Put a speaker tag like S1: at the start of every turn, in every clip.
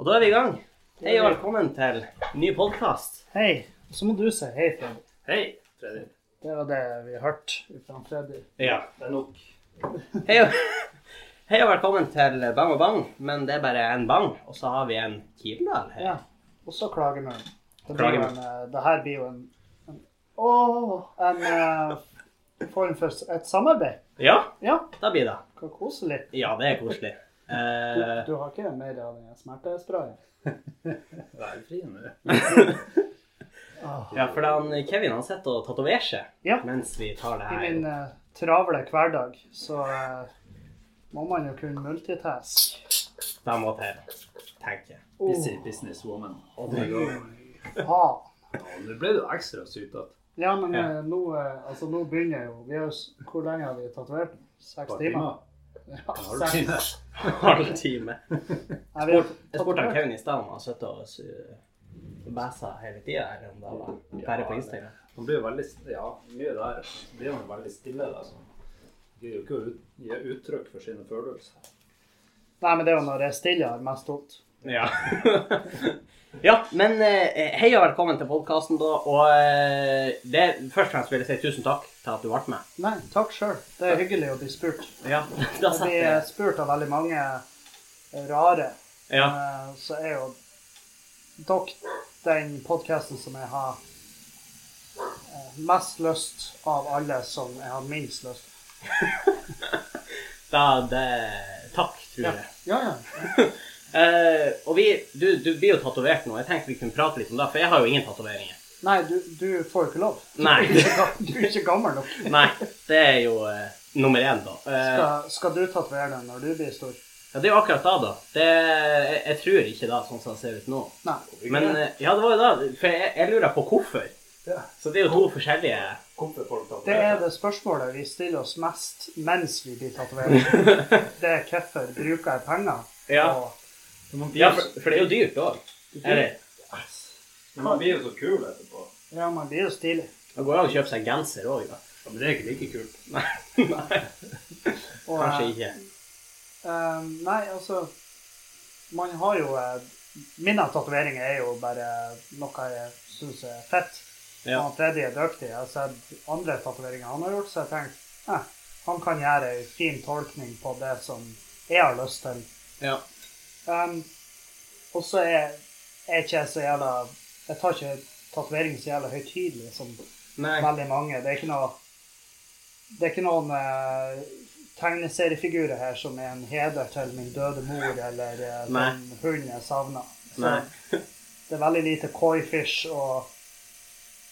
S1: Og da er vi i gang. Hei og velkommen til ny podkast.
S2: Hei. Så må du si hei, Freddy.
S1: Hei, Freddy.
S2: Det var det vi hørte fra Freddy.
S1: Ja, det er nok. Hei og, hei og velkommen til Bang og Bang, men det er bare en bang. Og så har vi en Kilendal her.
S2: Ja. Og så klagemuren. Det, blir jo
S1: Klagemuren.
S2: en, eh, det her blir jo en, en Å! En eh, form for s- et samarbeid.
S1: Ja,
S2: Ja.
S1: da blir det.
S2: Kan kose litt.
S1: Ja, det er koselig.
S2: Du,
S1: Eh,
S2: du har ikke mer av den smertesprayen?
S3: Velfri nå.
S2: Åh.
S1: ja, for han, Kevin han sitter og tatoverer seg
S2: Ja.
S1: mens vi tar det
S2: I
S1: her.
S2: min eh, travle hverdag så eh, må man jo kunne multitask.
S1: Da må til, tenker jeg.
S3: Busy businesswoman.
S1: Og det går.
S2: Faen.
S3: Ja, nå ble du ekstra sytete.
S2: Ja, men
S1: Ja.
S2: eh, nå, eh, altså, nå begynner jo vi har, jo s- Hvor lenge har vi tatovert? Seks timer? Ja, seks.
S1: Halv time.
S2: Nei, vi har
S1: Jeg spurte han
S2: tatovert.
S1: Kevin i stad om han satt og bæsa hele tida, eller om det var bare på Instagram.
S3: Han blir jo veldig st- Ja, mye der. Så blir han jo veldig stille. da, så Han gir jo ikke ut, gi uttrykk for sine følelser.
S2: Nei, men det er jo når jeg er stille jeg har mest vondt.
S1: Ja. ja, men eh, hei og velkommen til podkasten, da. Og eh, det, først og fremst vil jeg si tusen takk til at du ble med.
S2: Nei, takk sjøl. Det er hyggelig å bli spurt.
S1: Ja, da
S2: Jeg
S1: setter
S2: blir
S1: jeg.
S2: spurt av veldig mange eh, rare.
S1: Ja.
S2: Eh, Så er jo dere den podkasten som jeg har eh, mest lyst av alle, som jeg har minst lyst til.
S1: Da, det, takk, tror jeg.
S2: Ja, ja.
S1: Eh, og vi, du, du blir jo tatovert nå. Jeg tenkte vi kunne prate litt om det, for jeg har jo ingen tatoveringer.
S2: Nei, du, du får jo ikke lov.
S1: Nei.
S2: Du er ikke ga- Du er ikke gammel nok.
S1: Nei, det er jo eh, nummer én, da. Eh,
S2: Skal, skal du tatovere den når du blir stor?
S1: ja, det er jo akkurat da, da. Det, jeg, jeg tror ikke det, sånn som det ser ut nå.
S2: Nei.
S1: Men eh, ja, det var jo da, for jeg, jeg lurer på hvorfor.
S3: Ja.
S1: Så det er jo to forskjellige
S3: Hvorfor folk tar
S2: Det er det spørsmålet vi stiller oss mest mens vi blir tatovert. Det er hvorfor bruker jeg penger?
S1: Ja.
S2: Og
S1: Ja, for, for det er jo dyrt òg. Eller
S3: Men han blir jo så kul etterpå.
S2: ja, man blir jo stilig.
S1: det går jo an å kjøpe seg genser òg, da.
S3: Ja, men det er ikke like kult.
S1: Nei, nei,
S2: Og,
S1: kanskje
S2: eh,
S1: ikke.
S2: eh, nei, altså Man har jo eh, Mine tatoveringer er jo bare noe jeg syns er fett.
S1: Ja.
S2: Han Freddy er dyktig. Jeg har sett andre tatoveringer han har gjort, så jeg tenkte eh, han kan gjøre ei en fin tolkning på det som jeg har lyst til.
S1: Ja.
S2: Um, og så er, er ikke jeg så jævla Jeg tar ikke tatovering så jævla høytidelig som
S1: Nei.
S2: veldig mange. Det er ikke noe Det er ikke noen eh, tegneseriefigurer her som er en heder til min døde mor eller eh,
S1: Nei.
S2: den hunden jeg savna.
S1: nei.
S2: Det er veldig lite coyfish og,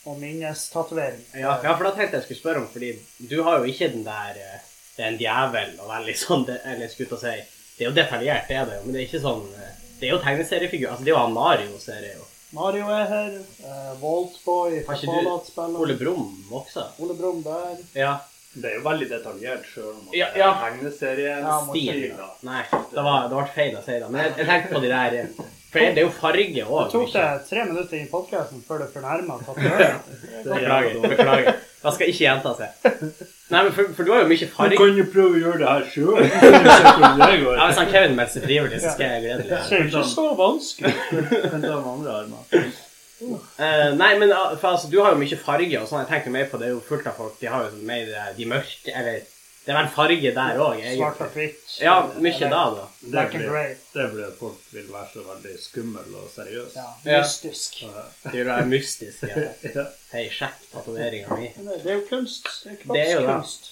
S2: og minnestatovering.
S1: Ja, ja, for da tenkte jeg skulle spørre om, fordi du har jo ikke den der eh, Det er en djevel og veldig sånn det, Eller jeg skulle til å si Det er jo detaljert, det er det jo, men det er ikke sånn eh, Det er jo tegneseriefigur. Altså, det er jo han Mario, ser jeg jo.
S2: Eh, Mario er her. Uh, Voltboy
S1: Har
S2: fra
S1: ikke du-
S2: Fallout-spillet.
S1: Ole Brumm også.
S2: Ole Brumm der.
S1: Ja.
S3: Det er jo veldig detaljert sjøl om at
S1: Ja,
S3: det er
S1: ja.
S2: Ja, må ikke-
S3: tegneseriestil. da.
S1: Nei, det var, det var feil å si det. Men jeg, jeg tenkte på de der eh, For det er jo farge
S2: Det tok
S1: òg.
S2: deg tre minutter inn i podkasten før du fornærma tatoveringen.
S1: Beklager. beklager. Det skal ikke gjenta seg. Nei, men for, for du har jo mye
S3: Du
S1: farge.
S3: kan jo prøve å gjøre det her sjøl. Hvordan det går.
S1: Ja, Hvis han Kevin melder seg frivillig, så skal jeg glede
S2: Det
S1: meg.
S2: er ikke så vanskelig.
S3: Kan ta med andre armer.
S1: Eh, nei, men ah, for, altså, du har jo mye farge og sånn. Jeg tenker mer på det er jo fullt av folk. De har jo sånn mer eh, de mørke Eller det er vel farge der òg,
S2: Svart og
S1: egentlig.
S2: hvitt.
S1: Ja, mye da, da.
S3: Det
S2: Black and
S3: blir-
S2: grey.
S3: Det er fordi at folk vil være så veldig skummel og seriøs.
S2: Ja,
S1: Ja.
S2: mystisk.
S1: Det er jo det mystiske. Ja.
S3: Ja.
S1: Hei, sjekk tatoveringa mi.
S2: Men Det det er jo kunst. Det er
S1: Det er jo det.
S2: kroppskunst.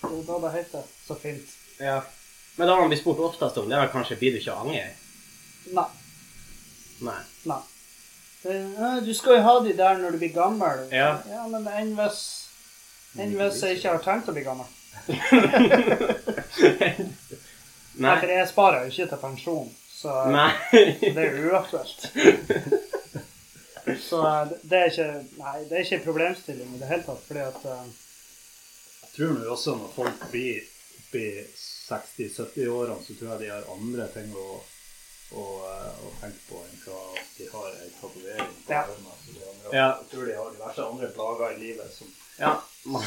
S2: Det er jo da det heter. Så fint.
S1: Ja. Men da man blir spurt oftest om, det er vel kanskje blir du ikke angre?
S2: Nei.
S1: Nei.
S2: Nei. Det, «Nei, du skal jo ha de der når du blir gammel.
S1: Ja.
S2: men enn hvis Enn hvis jeg ikke har tenkt å bli gammel? Nei.
S1: Nei.
S2: For jeg sparer jo ikke til pensjon, så
S1: Nei.
S2: det er jo uaktuelt. Så eh, det er ikke Nei, det er ikke en problemstilling i det hele tatt, fordi at eh,
S3: Jeg tror nå også når folk blir oppi 60-70-årene, så tror jeg de har andre ting å, å, eh, å tenke på enn hva at de har ei tatovering på
S2: Ja.
S3: armen. som de andre har.
S1: Ja.
S3: Jeg tror de har diverse andre plager i livet som
S1: Ja.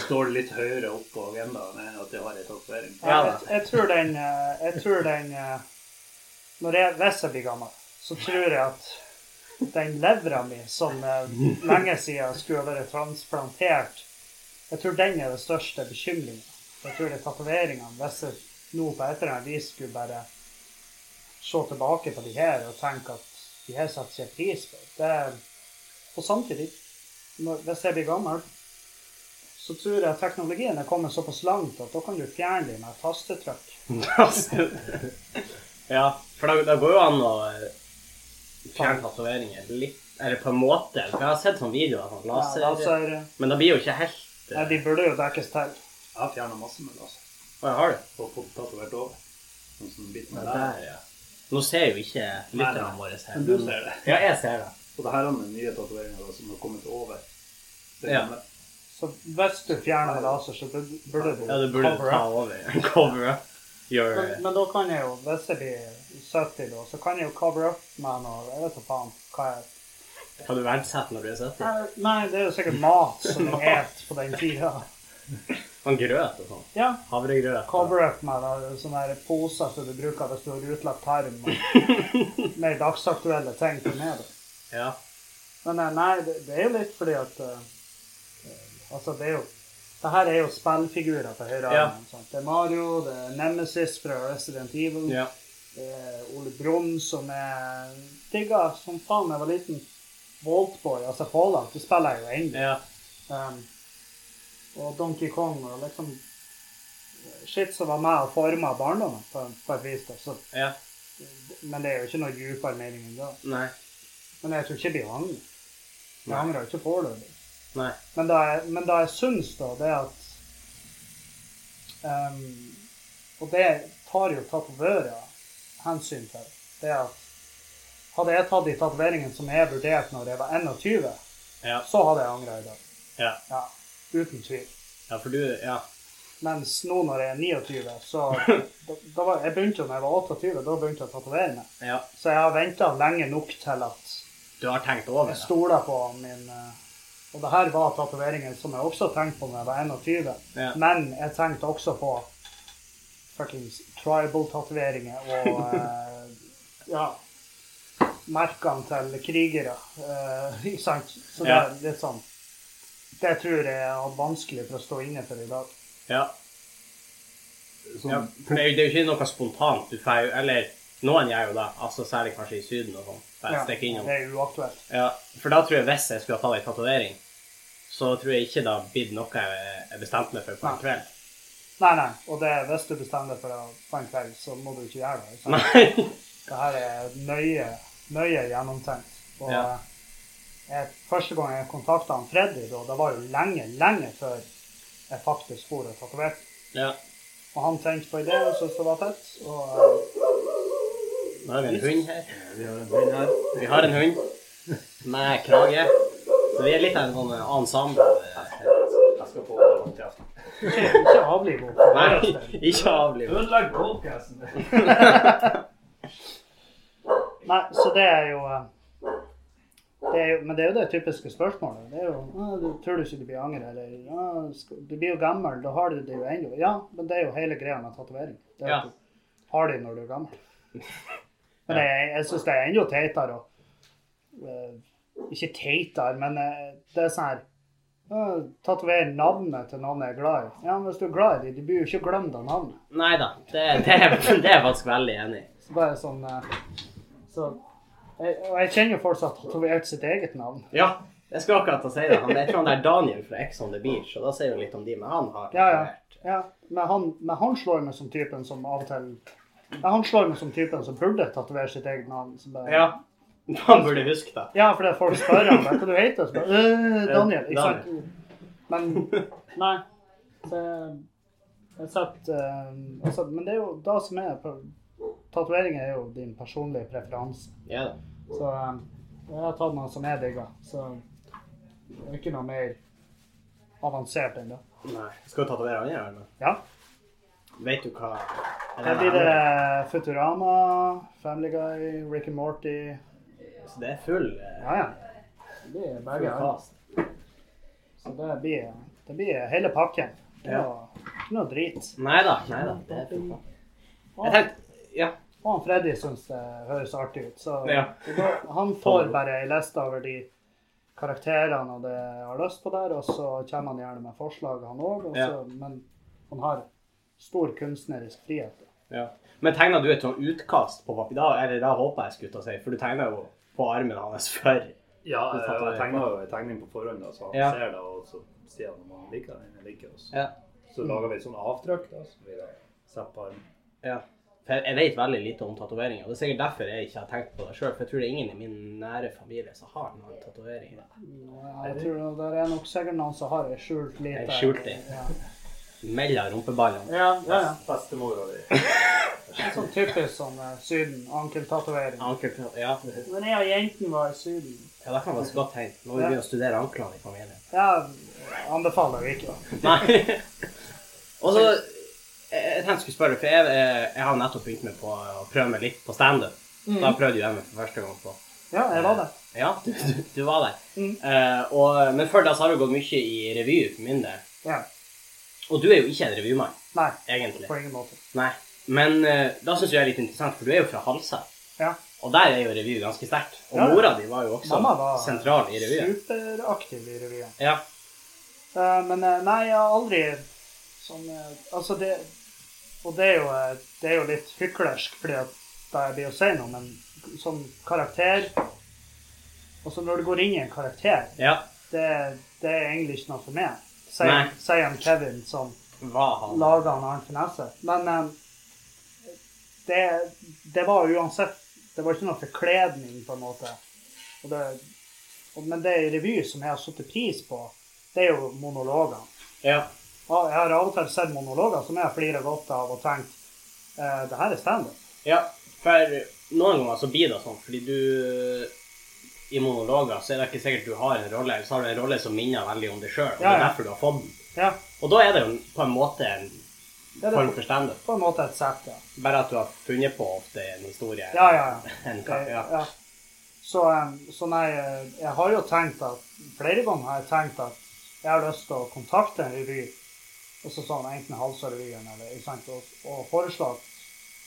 S3: står litt høyere opp på agendaen enn at de har ei tatovering.
S1: Ja.
S2: Jeg, jeg tror den, eh, jeg tror den eh, når jeg, Hvis jeg blir gammel, så tror jeg at den levra mi, som eh, lenge siden skulle ha vært transplantert, jeg tror den er den største bekymringen. Jeg tror det er tatoveringene. Hvis jeg nå på et eller annet vis skulle bare se tilbake på de her og tenke at de her setter jeg pris på det, Og samtidig, når, hvis jeg blir gammel, så tror jeg teknologien er kommet såpass langt at da kan du fjerne dem med et tastetrykk.
S1: ja, for da, da går jo an å eh, fjerne tatoveringer litt. Eller på en måte. For jeg har sett sånne videoer av sånn
S2: Ja,
S1: laser.
S2: laser
S1: Men da blir jo ikke helt
S2: ja,
S1: eh,
S2: de burde jo dekkes til.
S3: Jeg har fjerna masse med laser.
S1: Hva har du?
S3: Og fått tatovert over. Sånn som biten
S1: Ja,
S3: er der.
S1: Der, ja. Nå ser jo ikke lytterne
S3: nei.
S1: våre her.
S3: Men du ser det.
S1: Ja, jeg ser det.
S3: Og det her er den nye tatoveringa som har kommet over. Det
S1: Ja.
S3: gamle.
S2: Så hvis du fjerner med laser, så burde burde du
S1: Ja, du burde
S2: cover
S1: ta
S2: up.
S1: over. cover up. Gjør
S2: Men, men da kan jeg jo, hvis jeg blir 70 da, så kan jeg jo cover up med noe Jeg vet da faen hva jeg
S1: Hva du verdsetter når du er 70?
S2: Nei, Nei, det er jo sikkert mat som jeg et på den tida.
S1: Sånn grøt og sånn.
S2: Ja.
S1: Havregrøt.
S2: Cover up med da, sånne her poser som du bruker hvis du har utlagt tarm. og Mer dagsaktuelle ting til meg. da.
S1: Ja.
S2: Men eh, nei, det, det er jo litt fordi at eh, eh, Altså, det er jo Det her er jo spillfigurer på høyre
S1: Ja.
S2: armen. sant? Det er Mario, det er Nemesis fra Resident Evil,
S1: ja.
S2: det er Ole Brumm, som er digga som faen da jeg var liten. Voltboy, altså Fallout, det spiller jeg jo ennå.
S1: ja.
S2: Um, og Donkey Kong og liksom eh, Shit som var med og forma barndommen på, på et vis. da. Så,
S1: Ja.
S2: men det er jo ikke noe dypere mening enn det.
S1: Nei.
S2: Men jeg tror ikke de angrer. De
S1: Nei.
S2: angrer ikke foreløpig.
S1: Nei.
S2: Men det jeg, men det jeg syns, da, det er at ehm, Og det tar jo tatovører hensyn til. Det er at hadde jeg tatt de tatoveringene som jeg vurderte når jeg var 21,
S1: Ja.
S2: så hadde jeg angra i dag.
S1: Ja.
S2: Ja, uten tvil.
S1: ja, for du Ja.
S2: Mens nå når jeg er 29, så da, da var, Jeg begynte jo når jeg var 28, da begynte jeg å tatovere meg.
S1: ja.
S2: Så jeg har venta lenge nok til at
S1: Du har tenkt over
S2: Jeg
S1: det?
S2: stoler på min eh, Og det her var tatoveringen som jeg også tenkte på da jeg var 21.
S1: Ja.
S2: Men jeg tenkte også på fuckings tribal-tatoveringer og eh, ja, merkene til krigere. eh, Ikke sant? Så det er litt sånn Det tror jeg er vanskelig for å stå inne for i dag.
S1: Ja.
S3: Sånn,
S1: ja. For det er, jo, det er jo ikke noe spontant. Du får jo Eller noen gjør jo det, altså særlig kanskje i Syden og sånn. Får
S2: Ja,
S1: jeg stikke innom.
S2: det er uaktuelt.
S1: Ja, for da tror jeg hvis jeg skulle ha tatt ei tatovering, så tror jeg ikke det hadde blitt noe jeg jeg bestemte meg for på en
S2: Nei.
S1: kveld.
S2: Nei, nei. Og det, hvis du bestemmer deg for å ta en kveld, så må du ikke gjøre det. ikke sant?
S1: Nei.
S2: Det her er nøye, nøye gjennomtenkt. Og
S1: Ja.
S2: jeg, første gang jeg kontakta han Freddy, da, det var jo lenge, lenge før jeg faktisk for og tatoverte.
S1: Ja.
S2: Og han tenkte på ideen og syntes det var fett. Og eh,
S1: Nå har vi en hund her.
S3: Vi har en hund her.
S1: Vi har en hund med krage. Så vi er litt av en sånn ensemble.
S3: Jeg skal få den til aften.
S2: ikke, eh, ikke avliv henne.
S1: Nei, ikke avliv.
S3: Ødelegg podkasten!
S2: Nei, så det er jo eh, det er, jo- men det er jo det typiske spørsmålet. Det er jo, «Å, du, 'Tror du ikke du blir angre?' Eller «Å, skal- 'Du blir jo gammel, da har du det jo ennå.' Ja, men det er jo hele greia med tatovering. Det er
S1: Ja.
S2: at du har de når du er gammel. Men jeg, jeg syns det er enda teitere å eh, Ikke teitere, men eh, det er sånn her «Å, Tatovere navnet til noen jeg er glad i. Ja, men hvis du er glad i dem, du blir jo ikke glemt av navnet.
S1: Nei da, det, det, er- det er jeg faktisk veldig enig i.
S2: Så bare sånn eh, så, jeg, Og jeg kjenner jo folk som har tatovert sitt eget navn.
S1: Ja, jeg skulle akkurat til å si det. Han, jeg tror han der Daniel fra Ex on the Beach, og da sier jo litt om de, men han har
S2: Ja, ja.
S1: tatovert.
S2: ja men, han, men han slår meg som typen som av og til ja, Han slår meg som typen som burde tatovere sitt eget navn. Så bare,
S1: Ja. Han burde huske det.
S2: ja, fordi folk spør ham hva du heter. Så bare «Øh, Daniel.
S1: Daniel.
S2: Ikke sant? Men Nei. Det, jeg satt, eh, jeg satt, men det er jo det som er Tatoveringer er jo din personlige preferanse.
S1: Ja da.
S2: Så eh, jeg har tatt noe som jeg digger. Så det er ikke noe mer avansert enn det.
S1: Nei. Skal du tatovere han, eller?
S2: Ja.
S1: Vet du hva
S2: Her blir det Futurama, Family Guy, Rick and Morty.
S1: Så det er full eh,
S2: Ja, ja. Det er
S1: full
S2: begge her.
S1: cast.
S2: Så det blir, det blir hele pakken. Det er
S1: Ja.
S2: noe- Ikke noe drit.
S1: Nei da. Nei da. Det er full cast. Jeg tenkte Ja.
S2: Og han Freddy syns det høres artig ut. Så
S1: Ja.
S2: det går, han får bare ei liste over de karakterene og det jeg har lyst på der, og så kommer han gjerne med forslag, han òg. og så- Men han har stor kunstnerisk frihet.
S1: Ja. Men tegna du et sånt utkast på papir? Da, eller da håper jeg skulle til å si, for du tegna jo på armen hans før.
S3: Ja,
S1: Du
S3: jeg,
S1: fatter
S3: jeg
S1: det.
S3: tegna jo en tegning på forhånd, da, så han
S1: Ja.
S3: ser det, og så sier han om han liker den eller ikke. Og så,
S1: Ja.
S3: så lager vi et sånt avtrykk, da, så blir det satt på armen.
S1: Ja. For jeg- jeg vet veldig lite om tatoveringer. Det er sikkert derfor jeg ikke har tenkt på det sjøl. For jeg tror det er ingen i min nære familie som har noen tatoveringer.
S2: Jeg tror det er nok sikkert noen som har ei skjult lite
S1: Ei skjult i.
S2: Ja.
S1: Mellom rumpeballene.
S2: Ja, ja, ja.
S3: Bestemora di.
S2: Sånn typisk sånn eh, Syden. Ankeltatovering.
S1: Ankel- Ja,
S2: Men jeg og jentene var i Syden.
S1: ja det kan være et godt tegn. Nå må vi begynne å studere anklene i familien.
S2: Jeg anbefaler det ikke. da.
S1: Nei. Og så Jeg jeg tenkte jeg skulle spørre, for jeg, jeg, jeg har nettopp begynt med på å prøve meg litt på standup.
S2: Mm.
S1: Da prøvde jeg meg for første gang på
S2: Ja, jeg var det.
S1: Ja, du, du, du var der.
S2: Mm.
S1: Eh, og, men før da så har du gått mye i revy for min del.
S2: Ja.
S1: Og du er jo ikke en revymann,
S2: Nei,
S1: egentlig.
S2: på ingen måte.
S1: Nei. Men eh, da syns jeg det er litt interessant, for du er jo fra Halsa.
S2: Ja.
S1: Og der er jo revy ganske sterkt. Og
S2: Ja.
S1: mora di var jo også
S2: Mamma var
S1: Liksom, sentral i revyen.
S2: Superaktiv i revyen.
S1: Ja.
S2: Eh, Men eh, nei, jeg har aldri sånn eh, Altså, det Og det er jo, eh, det er jo litt hyklersk, fordi at da jeg blir å si noe, men sånn karakter Altså, når du går inn i en karakter,
S1: ja.
S2: det, det er egentlig ikke noe for meg.
S1: Nei.
S2: Sier sier han Kevin som
S1: Var han
S2: laga en annen finesse. Men eh, det, det var uansett Det var ikke noe forkledning, på en måte. Og det, og, men det i revy som jeg har satt pris på, det er jo monologene.
S1: Ja.
S2: Ja, Jeg har av og til sett monologer som jeg flirer godt av og tenkt eh, det her er standup.
S1: ja. For noen ganger så blir det sånn, fordi du I monologer så er det ikke sikkert du har en rolle, eller så har du en rolle som minner veldig om deg sjøl, og det
S2: Ja,
S1: er
S2: ja.
S1: derfor du har fått den.
S2: Ja,
S1: Og da er det jo på en måte en
S2: det er
S1: form
S2: det
S1: for standup.
S2: på en måte et sett, ja.
S1: Bare at du har funnet på ofte en historie.
S2: Ja, ja, ja.
S1: En ka-
S2: Det-
S1: ja.
S2: Eh, ja. Så, um, så nei, eh, jeg har jo tenkt at flere ganger har jeg tenkt at jeg har lyst til å kontakte en revy, og så sånn enten Halsa-revyen eller ikke sant, og, og foreslå at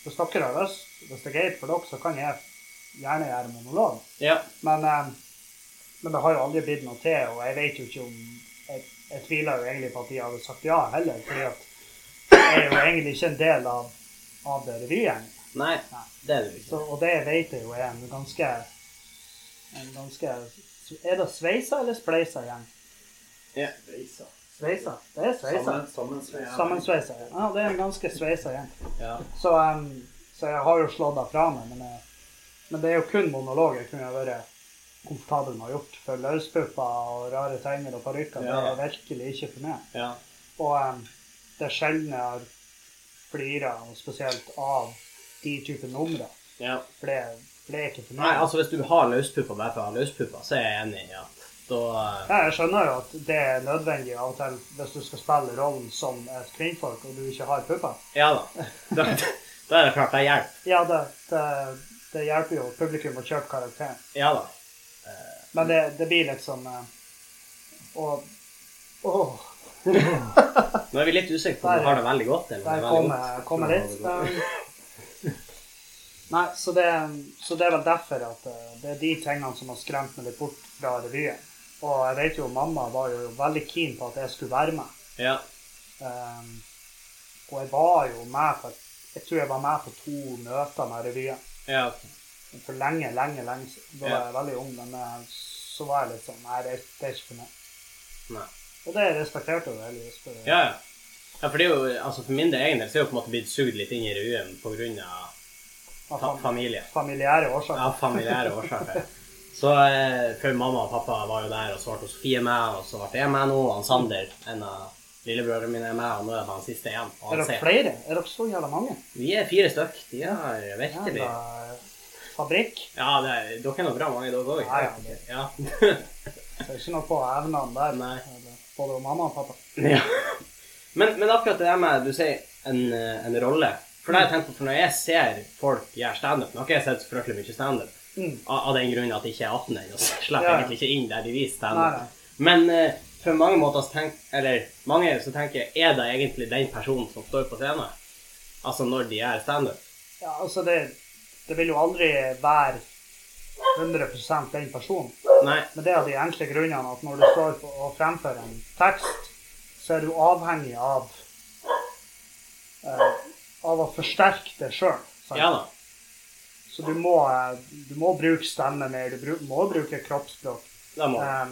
S2: hvis dere har lyst, hvis det er greit for dere, så kan jeg gjerne gjøre monolog.
S1: ja.
S2: Men, um, men det har jo aldri blitt noe til, og jeg vet jo ikke om Jeg, jeg tviler jo egentlig på at de hadde sagt ja heller, fordi at jeg er jo egentlig ikke en del av, av det revygjengen.
S1: Nei, det er det jo ikke.
S2: Så, og det vet jeg jo er en ganske En ganske Er det sveisa eller spleisa igjen?
S3: Sveisa.
S2: Sveisa. Det er sveisa.
S3: Sammen, sammensveisa.
S2: Sammensveisa. Ja, Ja, det er en ganske sveisa igjen.
S1: Ja.
S2: Så, em, så jeg har jo slått det fra meg, men, jeg, men det er jo kun monolog jeg kunne vært komfortabel med å gjort. For løspupper og rare tegner og parykker, det
S1: Ja.
S2: er virkelig ikke for meg.
S1: ja.
S2: Og em, det er sjelden jeg har flira, og spesielt av de typer numre.
S1: ja.
S2: For det, for det er ikke for meg.
S1: Nei, altså hvis du har løspupper bare for å ha løspupper, så er jeg enig i at da
S2: Ja, jeg skjønner jo at det er nødvendig av og til hvis du skal spille rollen som et kvinnfolk og du ikke har pupper.
S1: Ja da. Da, da er det klart det hjelper.
S2: Ja, det, det, det hjelper jo publikum å kjøpe karakteren.
S1: Ja da.
S2: Men det, det blir liksom eh, Og Åh,
S1: Nå er vi litt usikre på om du har det veldig godt. Eller om
S2: der
S1: det er
S2: kom
S1: veldig godt.
S2: jeg- kom jeg litt. Eh, Nei, så det, så det er vel derfor at eh, det er de tingene som har skremt meg litt bort fra revyen. Og jeg vet jo mamma var jo veldig keen på at jeg skulle være med.
S1: Ja.
S2: Um, og jeg var jo med på Jeg tror jeg var med på to møter med revyen.
S1: ja.
S2: For lenge, lenge, lenge siden. Da var
S1: Ja.
S2: jeg veldig ung, men eh, så var jeg litt sånn Nei, det er, det er ikke for meg.
S1: Nei.
S2: Og det respekterte jeg heldigvis. For,
S1: Ja, ja. Ja, for det er jo, altså for min del egen del så er jeg jo på en måte blitt sugd litt inn i revyen på grunn av fa
S2: av fam-
S1: familie.
S2: familiære årsaker.
S1: Av familiære årsaker. Så eh, for mamma og pappa var jo der, og så ble Sofie med, og så ble jeg med nå. og Han Sander, en av lillebrødrene mine, er med, og nå er han siste igjen. Og
S2: er
S1: han
S2: dere
S1: sier,
S2: flere? Er dere så jævla mange?
S1: vi er fire stykk. De har virkelig
S2: Jævla eh, fabrikk.
S1: Ja, det er, dere er nå bra mange, dere òg.
S2: Ja, ja, det-
S1: Ja.
S2: Det er ikke noe på evnene der.
S1: Nei.
S2: Eller Både mamma og pappa.
S1: ja. Men, men akkurat det der med du sier en, eh, en rolle For det har jeg tenkt på, for når jeg ser folk gjøre standup Nå har ikke jeg sett så fryktelig mye standup
S2: Mm.
S1: av, av den grunn at jeg ikke er 18 ennå, så jeg slipper
S2: Ja, ja.
S1: egentlig ikke inn der de viser
S2: Nei, nei.
S1: standup. Men eh, for mange måter så tenk, eller mange så tenker jeg Er det egentlig den personen som står på scenen? Altså når de gjør standup?
S2: Ja, altså det, Det vil jo aldri være 100 den personen.
S1: Nei.
S2: Men det er av de enkle grunnene at når du står på og fremfører en tekst, så er du avhengig av eh, av å forsterke det sjøl.
S1: Ja da.
S2: Så du må, eh, du må bruke stemme mer, du bru- må bruke kroppsspråk.
S1: Da må
S2: Um,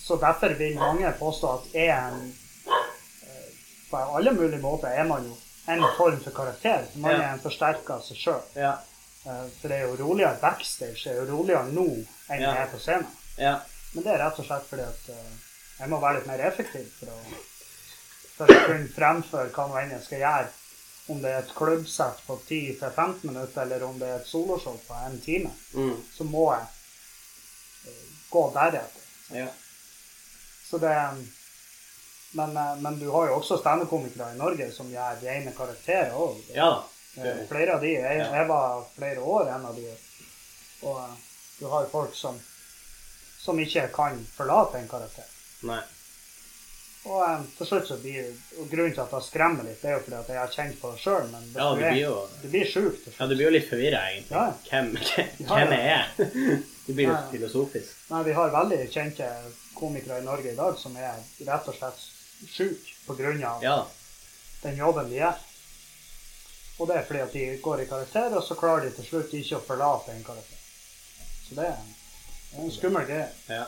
S2: så derfor vil mange påstå at E er en eh, På alle mulige måter er man jo en form for karakter. Man
S1: Ja.
S2: er en forsterker av seg sjøl.
S1: Ja.
S2: For det er jo roligere backstage, det er jo roligere nå enn
S1: Ja.
S2: det er på scenen.
S1: Ja.
S2: Men det er rett og slett fordi at eh, jeg må være litt mer effektiv for å, for å kunne fremføre hva nå enn jeg skal gjøre. Om det er et klubbsett på 10-15 minutter, eller om det er et soloshow på en time,
S1: Mm.
S2: så må jeg eh, gå deretter.
S1: Ja.
S2: Så det men, eh, men du har jo også standup-komikere i Norge som gjør rene karakterer òg.
S1: ja da.
S2: Eh, Flere av de, jeg,
S1: Ja.
S2: jeg var flere år en av de. Og eh, du har jo folk som, som ikke kan forlate en karakter.
S1: Nei.
S2: Og eh, til slutt så blir og Grunnen til at jeg skremmer litt, det er jo fordi at jeg har kjent på det sjøl, men hvis
S1: Ja,
S2: du
S1: du
S2: er-
S1: blir jo
S2: du blir sjuk til
S1: ja,
S2: slutt.
S1: du blir jo litt forvirra, egentlig.
S2: Ja.
S1: Hvem, hvem,
S2: Ja, ja.
S1: hvem er jeg? Du blir jo
S2: Ja, ja.
S1: filosofisk.
S2: Nei, vi har veldig kjente komikere i Norge i dag som er rett og slett sjuke pga.
S1: Ja da.
S2: den jobben de gjør. Og det er fordi at de går i karakter, og så klarer de til slutt ikke å forlate en karakter. Så det er en, det er en skummel greie.
S1: Ja.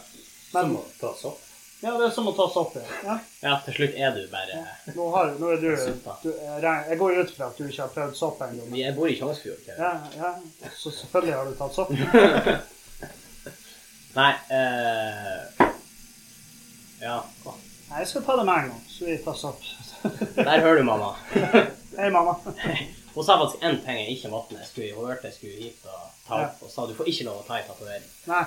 S2: Men
S3: Som må tas opp.
S2: ja, det er som å tas opp i. Ja.
S1: ja, til slutt er du bare
S2: Nå, har, nå er du,
S1: Suppa.
S2: du jeg regner- Jeg går ut fra at du ikke har prøvd sopp ennå. men-
S1: Jeg bor i Tjongsfjord. ikke sant?
S2: Ja, ja, så selvfølgelig har du tatt sopp.
S1: Nei eh, Ja. Å,
S2: Nei, jeg skal ta det med en gang, så vi tar sopp.
S1: Der hører du, mamma.
S2: Hei, mamma.
S1: Hun sa faktisk én ting jeg ikke måtte når jeg skulle, hun hørte jeg skulle hit og ta opp, og sa du får ikke lov å ta i tatovering.
S2: Nei,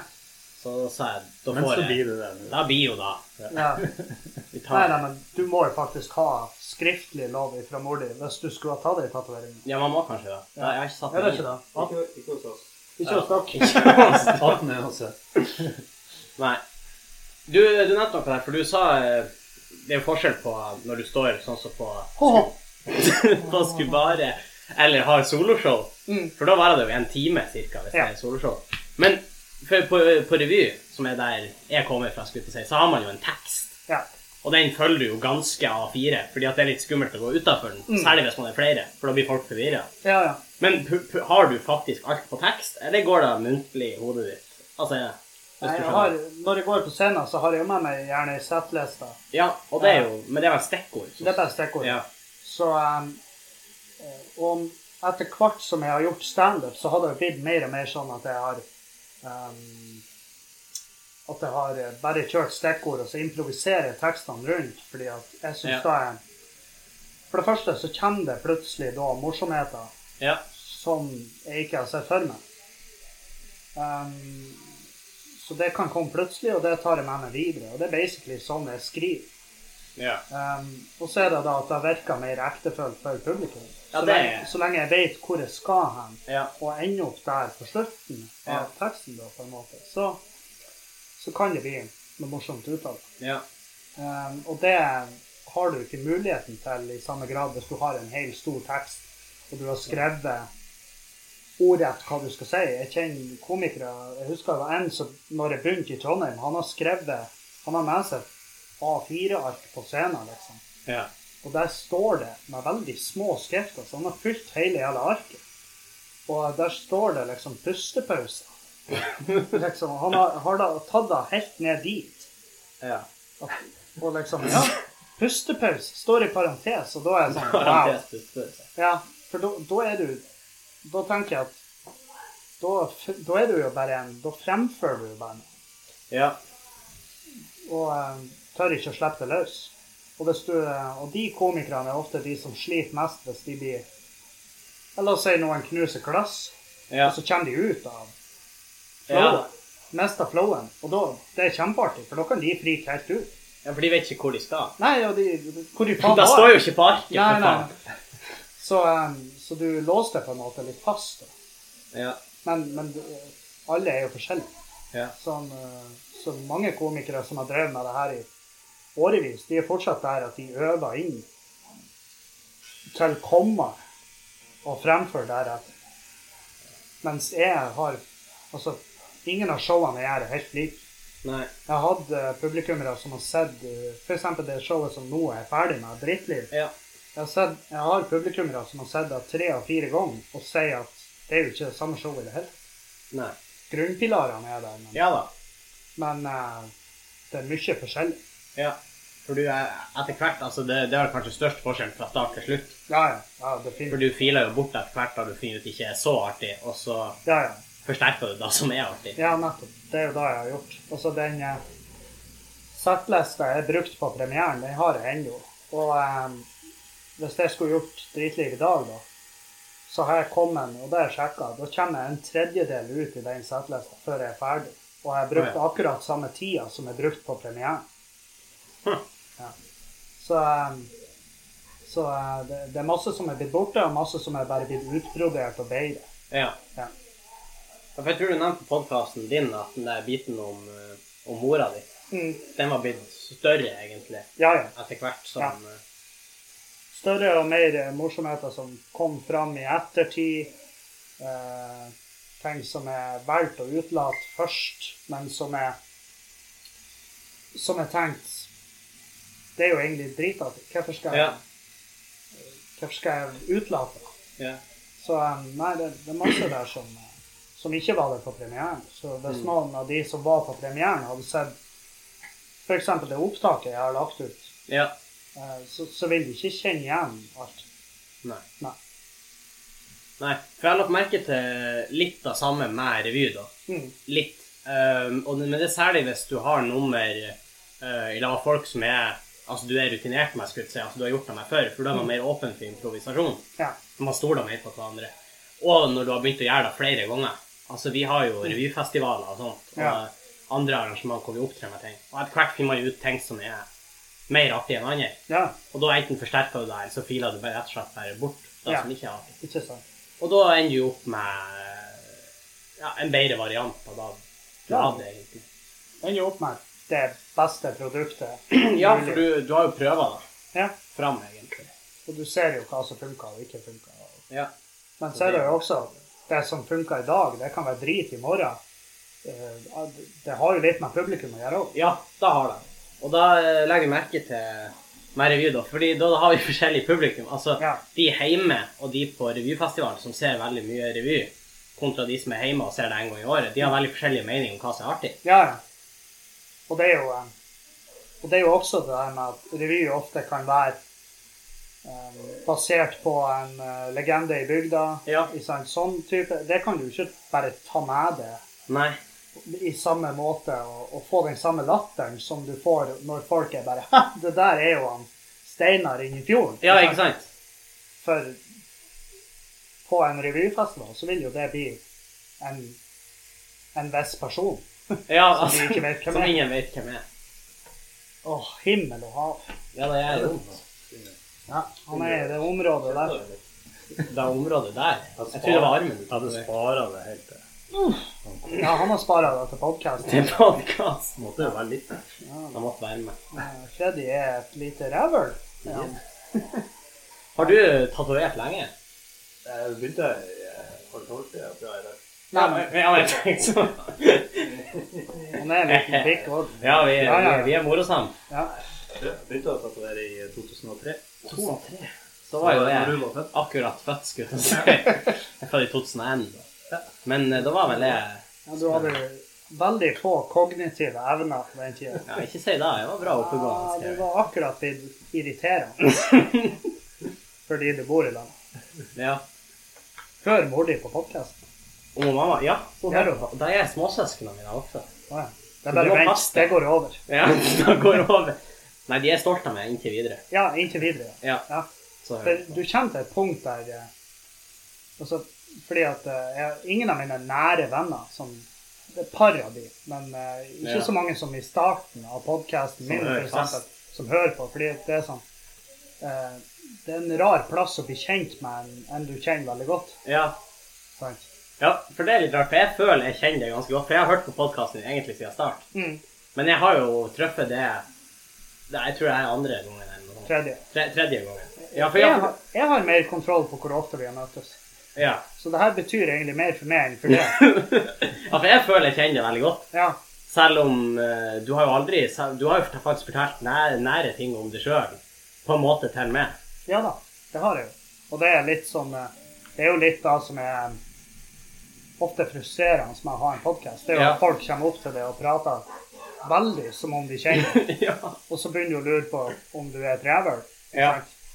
S1: Så da sa jeg da
S3: Men
S1: får
S3: så
S1: jeg.
S3: blir det det nå.
S1: Da blir jo da.
S2: ja.
S1: Vi
S2: Nei,
S1: tar
S2: nei, men du må jo faktisk ha skriftlig lov fra mor di hvis du skulle ha tatt deg tatovering.
S1: Ja, man må kanskje det. Da, jeg har ikke satt
S2: Er det ikke
S1: inn.
S2: det?
S3: Ikke, ikke hos oss.
S2: Ikke hos dere.
S1: Ikke
S3: 18
S1: sant?
S3: er også.
S1: Nei. Du, du nevnte noe der, for du sa eh, det er jo forskjell på når du står sånn som på,
S2: Åh.
S1: på Skubare eller har soloshow.
S2: Mm.
S1: For da varer det jo en time cirka hvis
S2: Ja.
S1: det er soloshow. Men for, på, på revy, som er der jeg kommer fra, skulle jeg til å si, så har man jo en tekst.
S2: Ja.
S1: Og den følger du jo ganske A4, fordi at det er litt skummelt å gå utafor den.
S2: Mm.
S1: Særlig hvis man er flere, for da blir folk forvirra.
S2: Ja, ja.
S1: Men pu, pu, har du faktisk alt på tekst, eller går det muntlig i hodet ditt? Altså, hvis
S2: Nei,
S1: du
S2: jeg
S1: skjønner.
S2: har, når jeg går på scenen, så har jeg jo med meg gjerne ei settliste.
S1: Ja, og det er jo, men det er vel stikkord. så-
S2: Det er bare stikkord.
S1: Ja.
S2: Så um, eh, om etter hvert som jeg har gjort standup, så har det jo blitt mer og mer sånn at jeg har um, At jeg har eh, bare kjørt stikkord, og så improviserer jeg tekstene rundt. Fordi at jeg syns
S1: Ja.
S2: da er For det første så kommer det plutselig da morsomheter
S1: ja.
S2: som jeg ikke har sett for meg. Ehm, så det kan komme plutselig, og det tar jeg med meg videre. Og det er basically sånn jeg skriver.
S1: Ja.
S2: Ehm, og så er det da at det virker mer ektefølt for publikum.
S1: Ja,
S2: så,
S1: det er-
S2: lenge, så lenge jeg vet hvor jeg skal hen,
S1: Ja.
S2: og ender opp der på slutten av teksten, da, på en måte, så, så kan det bli noe morsomt ut av det.
S1: Ja.
S2: Ehm, og det har du ikke muligheten til i samme grad hvis du har en hel stor tekst og du har skrevet ordrett hva du skal si. Jeg kjenner komikere Jeg husker det var en som når jeg begynte i Trondheim, han har skrevet Han har med seg A4-ark på scenen, liksom.
S1: Ja.
S2: Og der står det med veldig små skrifter, så han har fylt hele jævla arket. Og der står det liksom pustepauser. Liksom, han har, har da tatt det helt ned dit.
S1: Ja.
S2: Og liksom, ja, pustepause står i parentes, og da er jeg sånn, wow.
S1: Parentes, du spør seg.
S2: Ja, for da, da er du, da tenker jeg at, da, f- da er du jo bare en, da fremfører du jo bare noe,
S1: Ja.
S2: og eh, tør ikke å slippe det løs. Og hvis du, eh, og de komikerne er ofte de som sliter mest hvis de blir, eller la oss si noen knuser glass,
S1: Ja.
S2: og så kommer de ut av
S1: Ja.
S2: flowet, mister flowen, og da, det er kjempeartig, for da kan de frike helt ut.
S1: ja, for de vet ikke hvor de skal.
S2: Nei, og de, hvor de faen
S1: Da
S2: var.
S1: står jo ikke på arket,
S2: Nei,
S1: for
S2: nei.
S1: faen.
S2: Så, em, så du låste på en måte litt fast. Da.
S1: Ja.
S2: Men, men eh, alle er jo forskjellige.
S1: Ja.
S2: Sånn, eh, så mange komikere som har drevet med det her i årevis, de er fortsatt der at de øver inn til komma og fremfører deretter. Mens jeg har Altså, ingen av showene jeg gjør, er helt like.
S1: Nei.
S2: Jeg hadde publikummere som har sett f.eks. det showet som nå er ferdig med, Drittliv.
S1: Ja.
S2: Jeg har, sett, jeg har publikummere som har sett det tre av fire ganger, og sier at det er jo ikke det samme showet i det hele tatt.
S1: Nei.
S2: Grunnpilarene er der, men,
S1: Ja da.
S2: men eh, det er mye forskjellig.
S1: Ja. For du er etter hvert Altså, det, det er vel kanskje størst forskjell fra start til slutt.
S2: Ja, ja. ja
S1: For
S2: definitivt.
S1: du filer jo bort etter hvert da du finner ut ikke er så artig, og så
S2: Ja, ja.
S1: forsterker du det som er artig.
S2: ja, nettopp. Det er jo det jeg har gjort. Altså, den eh, settlista jeg brukte på premieren, den har jeg ennå. Og eh, hvis jeg skulle gjort Dritliv i dag, da, så har jeg kommet, og det har jeg sjekka, da kommer jeg en tredjedel ut i den settlista før jeg er ferdig. Og jeg har
S1: Å,
S2: brukt
S1: ja.
S2: akkurat samme tida som jeg brukte på premieren.
S1: Hm.
S2: Ja. Så, um, så uh, det, det er masse som er blitt borte, og masse som er bare blitt utbrodert og bedre.
S1: Ja.
S2: Ja.
S1: Ja, For jeg tror du nevnte på podkasten din at den der biten om, eh, om mora di, den var blitt større, egentlig,
S2: Ja, ja.
S1: etter hvert som
S2: Ja.
S1: eh,
S2: Større og mer eh, morsomheter som kom fram i ettertid. Eh, ting som er valgt å utelate først, men som er som er tenkt Det er jo egentlig dritartig. Hvorfor skal,
S1: Ja.
S2: hvorfor skal jeg utelate det?
S1: ja.
S2: Så um, nei, det, det er masse der som, eh, som ikke var der på premieren. Så hvis noen av de som var på premieren, hadde sett f.eks. det opptaket jeg har lagt ut,
S1: Ja.
S2: eh, så, så vil de ikke kjenne igjen alt.
S1: Nei.
S2: Nei.
S1: Nei. For jeg har lagt merke til litt av samme med revy, da.
S2: Mm.
S1: Litt. Um, og, det- men det er særlig hvis du har nummer eh, i lag med folk som er Altså, du er rutinert, med, skulle jeg si. Altså, du har gjort det med før. For da
S2: Mm.
S1: er man mer åpen for improvisasjon.
S2: Ja.
S1: Man stoler mer på hverandre. Og når du har begynt å gjøre det flere ganger. Altså, vi har jo revyfestivaler og sånt, og
S2: Ja.
S1: andre arrangement hvor vi opptrer med ting. Og etter hvert finner man jo ut ting som er mer artig enn andre.
S2: ja.
S1: Og da enten forsterker du det, eller så filer du bare rett og slett bare bort det
S2: Ja.
S1: som ikke er artig.
S2: Ikke sant?
S1: Og da ender du opp med ja, en bedre variant av det du
S2: Ja.
S1: hadde, egentlig.
S2: Jeg Ender jo opp med det beste produktet.
S1: Ja, for du, du har jo prøva det
S2: Ja.
S1: fram, egentlig.
S2: Og du ser jo hva som funker og ikke funker.
S1: Ja.
S2: Men så er det jo også det som funker i dag, det kan være drit i morgen. Eh, Det har jo litt med publikum å gjøre òg.
S1: Ja, da har det. Og da eh, legger jeg merke til med revy, da. Fordi da har vi forskjellig publikum. Altså
S2: Ja.
S1: de hjemme og de på revyfestivalen som ser veldig mye revy, kontra de som er hjemme og ser det en gang i året, de har veldig forskjellige meninger om hva som er artig.
S2: Ja, ja. Og det er jo eh, og det er jo også det der med at revy ofte kan være eh, basert på en eh, legende i bygda.
S1: Ja.
S2: I sånn, sånn type. Det kan du ikke bare ta med deg
S1: Nei.
S2: i samme måte og, og få den samme latteren som du får når folk er bare «Ha, Det der er jo han Steinar inne i fjorden.
S1: Ja, ikke sant?
S2: For på en revyfestival så vil jo det bli en, en viss person.
S1: Ja,
S2: Som vi
S1: altså,
S2: ikke vet hvem
S1: som
S2: er.
S1: ingen vet hvem er.
S2: Åh, himmel og hav.
S1: Ja, det er jo
S2: Ja, han er i det området der.
S1: det området der. Jeg tror det var armen.
S3: Ja, du sparer det helt til.
S2: Ja, han har spara det til podkast.
S1: Til podkast.
S3: Måtte jo være litt
S1: Jeg måtte være med.
S2: Eh, Freddy er et lite rævøl. Ja.
S1: Har du tatovert lenge?
S3: Jeg begynte i eh, halv-tolv-tida, tror jeg.
S2: Nei, men
S1: Ja, men jeg tenkte sånn.
S2: han er en liten pikk òg.
S1: Ja, vi,
S2: Ja, ja, ja.
S1: vi, vi er morosamme.
S2: Ja.
S3: Jeg begynte å tatovere i 2003.
S1: 2003. Så var jo
S3: Når
S1: jeg
S3: du var født.
S1: akkurat født, skulle jeg si. Jeg er født i 2001. da. Men eh, da var vel jeg
S2: ja, du hadde veldig få kognitive evner på den tida.
S1: Ja, ikke si det. Jeg var bra
S2: Ja,
S1: oppegående.
S2: du
S1: skrev jeg.
S2: Ah, var akkurat blitt irriterende fordi du bor i lag.
S1: Ja.
S2: Hør mor di på podkasten.
S1: Og mamma Ja, hun
S2: Ja.
S1: er jo Da er småsøsknene mine også.
S2: Ah, Ja. Det er
S1: Du
S2: bare
S1: må
S2: vent,
S1: passe deg.
S2: det går over.
S1: Ja, da går det over. Nei, de er stolte av meg inntil videre.
S2: Ja, inntil videre.
S1: Ja.
S2: Ja.
S1: Så,
S2: For du kommer til et punkt der eh, altså, Fordi at eh, jeg, ingen av mine nære venner som det er par av de, men eh, ikke
S1: Ja.
S2: så mange som i starten av podkasten
S1: Som
S2: min,
S1: hører
S2: for eksempel, som hører på. Fordi det er sånn eh, Det er en rar plass å bli kjent med en, en du kjenner veldig godt.
S1: ja.
S2: Sant?
S1: ja, for det er litt rart. For jeg føler jeg kjenner deg ganske godt. For jeg har hørt på podkasten din egentlig siden start.
S2: Mm.
S1: Men jeg har jo truffet det, det Jeg tror det er andre gangen eller noe sånt.
S2: Tredje.
S1: Tre, tredje gangen. Ja, for
S2: Jeg
S1: jeg,
S2: har, jeg har mer kontroll på hvor ofte vi har møttes.
S1: Ja.
S2: Så det her betyr egentlig mer for meg enn for det.
S1: ja, for jeg føler jeg kjenner det veldig godt.
S2: Ja,
S1: Selv om eh, du har jo aldri selv- Du har jo faktisk fortalt nære, nære ting om deg sjøl, på en måte til meg.
S2: ja da, det har jeg jo. Og det er litt sånn eh, Det er jo litt da som er eh, ofte frustrerende med å ha en podkast. Det er jo
S1: Ja.
S2: at folk kommer opp til deg og prater veldig som om de kjenner deg.
S1: ja.
S2: Og så begynner du å lure på om du er et rævøl
S1: Ja.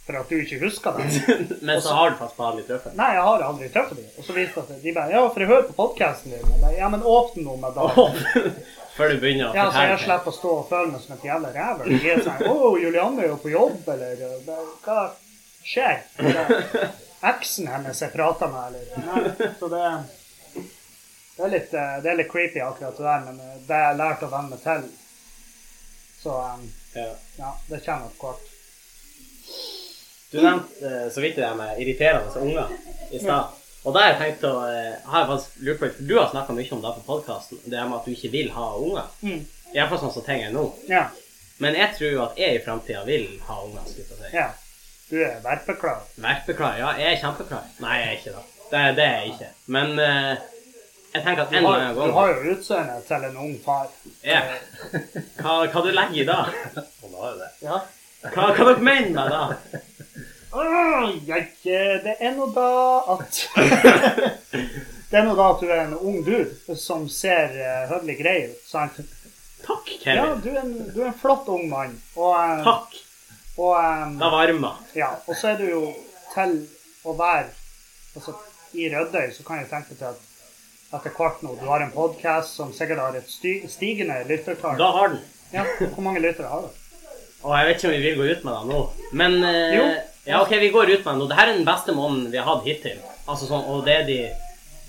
S2: for at du ikke husker det.
S1: Men så har du faktisk bare litt røffere.
S2: Nei, jeg har aldri truffet dem. Og så viser det seg de bare Ja, for jeg hører på podkasten din. Jeg bare, Ja, men åpne nå med da.
S1: Før du begynner å
S2: Ja, så jeg
S1: ting.
S2: slipper å stå og føle meg som et jævla rævel. De er sånn Å, Julianne er jo på jobb, eller eh, bare, Hva skjer? Eller, Eksen hennes jeg prater med, eller Nei, Så det det er, litt, eh, det er litt creepy, akkurat det der, men eh, det har jeg lært å venne meg til. Så eh,
S1: Ja.
S2: ja, det kommer etter hvert.
S1: Du nevnte eh, så vidt det der med irriterende unger i stad. Og da har jeg tenkt å eh, har jeg faktisk lurt på litt, for Du har snakka mye om det på podkasten, det her med at du ikke vil ha unger.
S2: Mm.
S1: Iallfall sånn som ting er nå.
S2: Ja.
S1: Men jeg tror jo at jeg i framtida vil ha unger. skulle jeg til å si.
S2: ja. Du er verpeklar.
S1: Verpeklar? Ja, jeg er kjempeklar. Nei, jeg er ikke det. Det, det er jeg ikke. Men eh, jeg tenker at
S2: Du
S1: en eller
S2: har,
S1: annen
S2: du
S1: gang
S2: har jo utseendet til en ung far.
S1: ja. hva, hva du legger i da?
S3: Han har jo det.
S2: Ja.
S1: Hva, hva dere mener med det?
S2: Åh, jeg, eh, det er nå da at Det er nå da at du er en ung dude som ser eh, høvelig grei ut. sant?
S1: Takk,
S2: Ja,
S1: Kevin.
S2: du er en, du er en flott ung mann. Og, eh,
S1: Takk.
S2: og, eh,
S1: Det varmer.
S2: ja, og så er du jo til å være altså, I Rødøy så kan jeg tenke til at etter hvert nå Du har en podkast som sikkert har et sty- stigende lyttertall.
S1: Da har den.
S2: Ja, hvor mange lyttere har du?
S1: Og jeg vet ikke om vi vil gå ut med det nå, men eh,
S2: Jo.
S1: Ja, OK, vi går ut med det nå. Dette er den beste måneden vi har hatt hittil. Altså sånn, Og det er de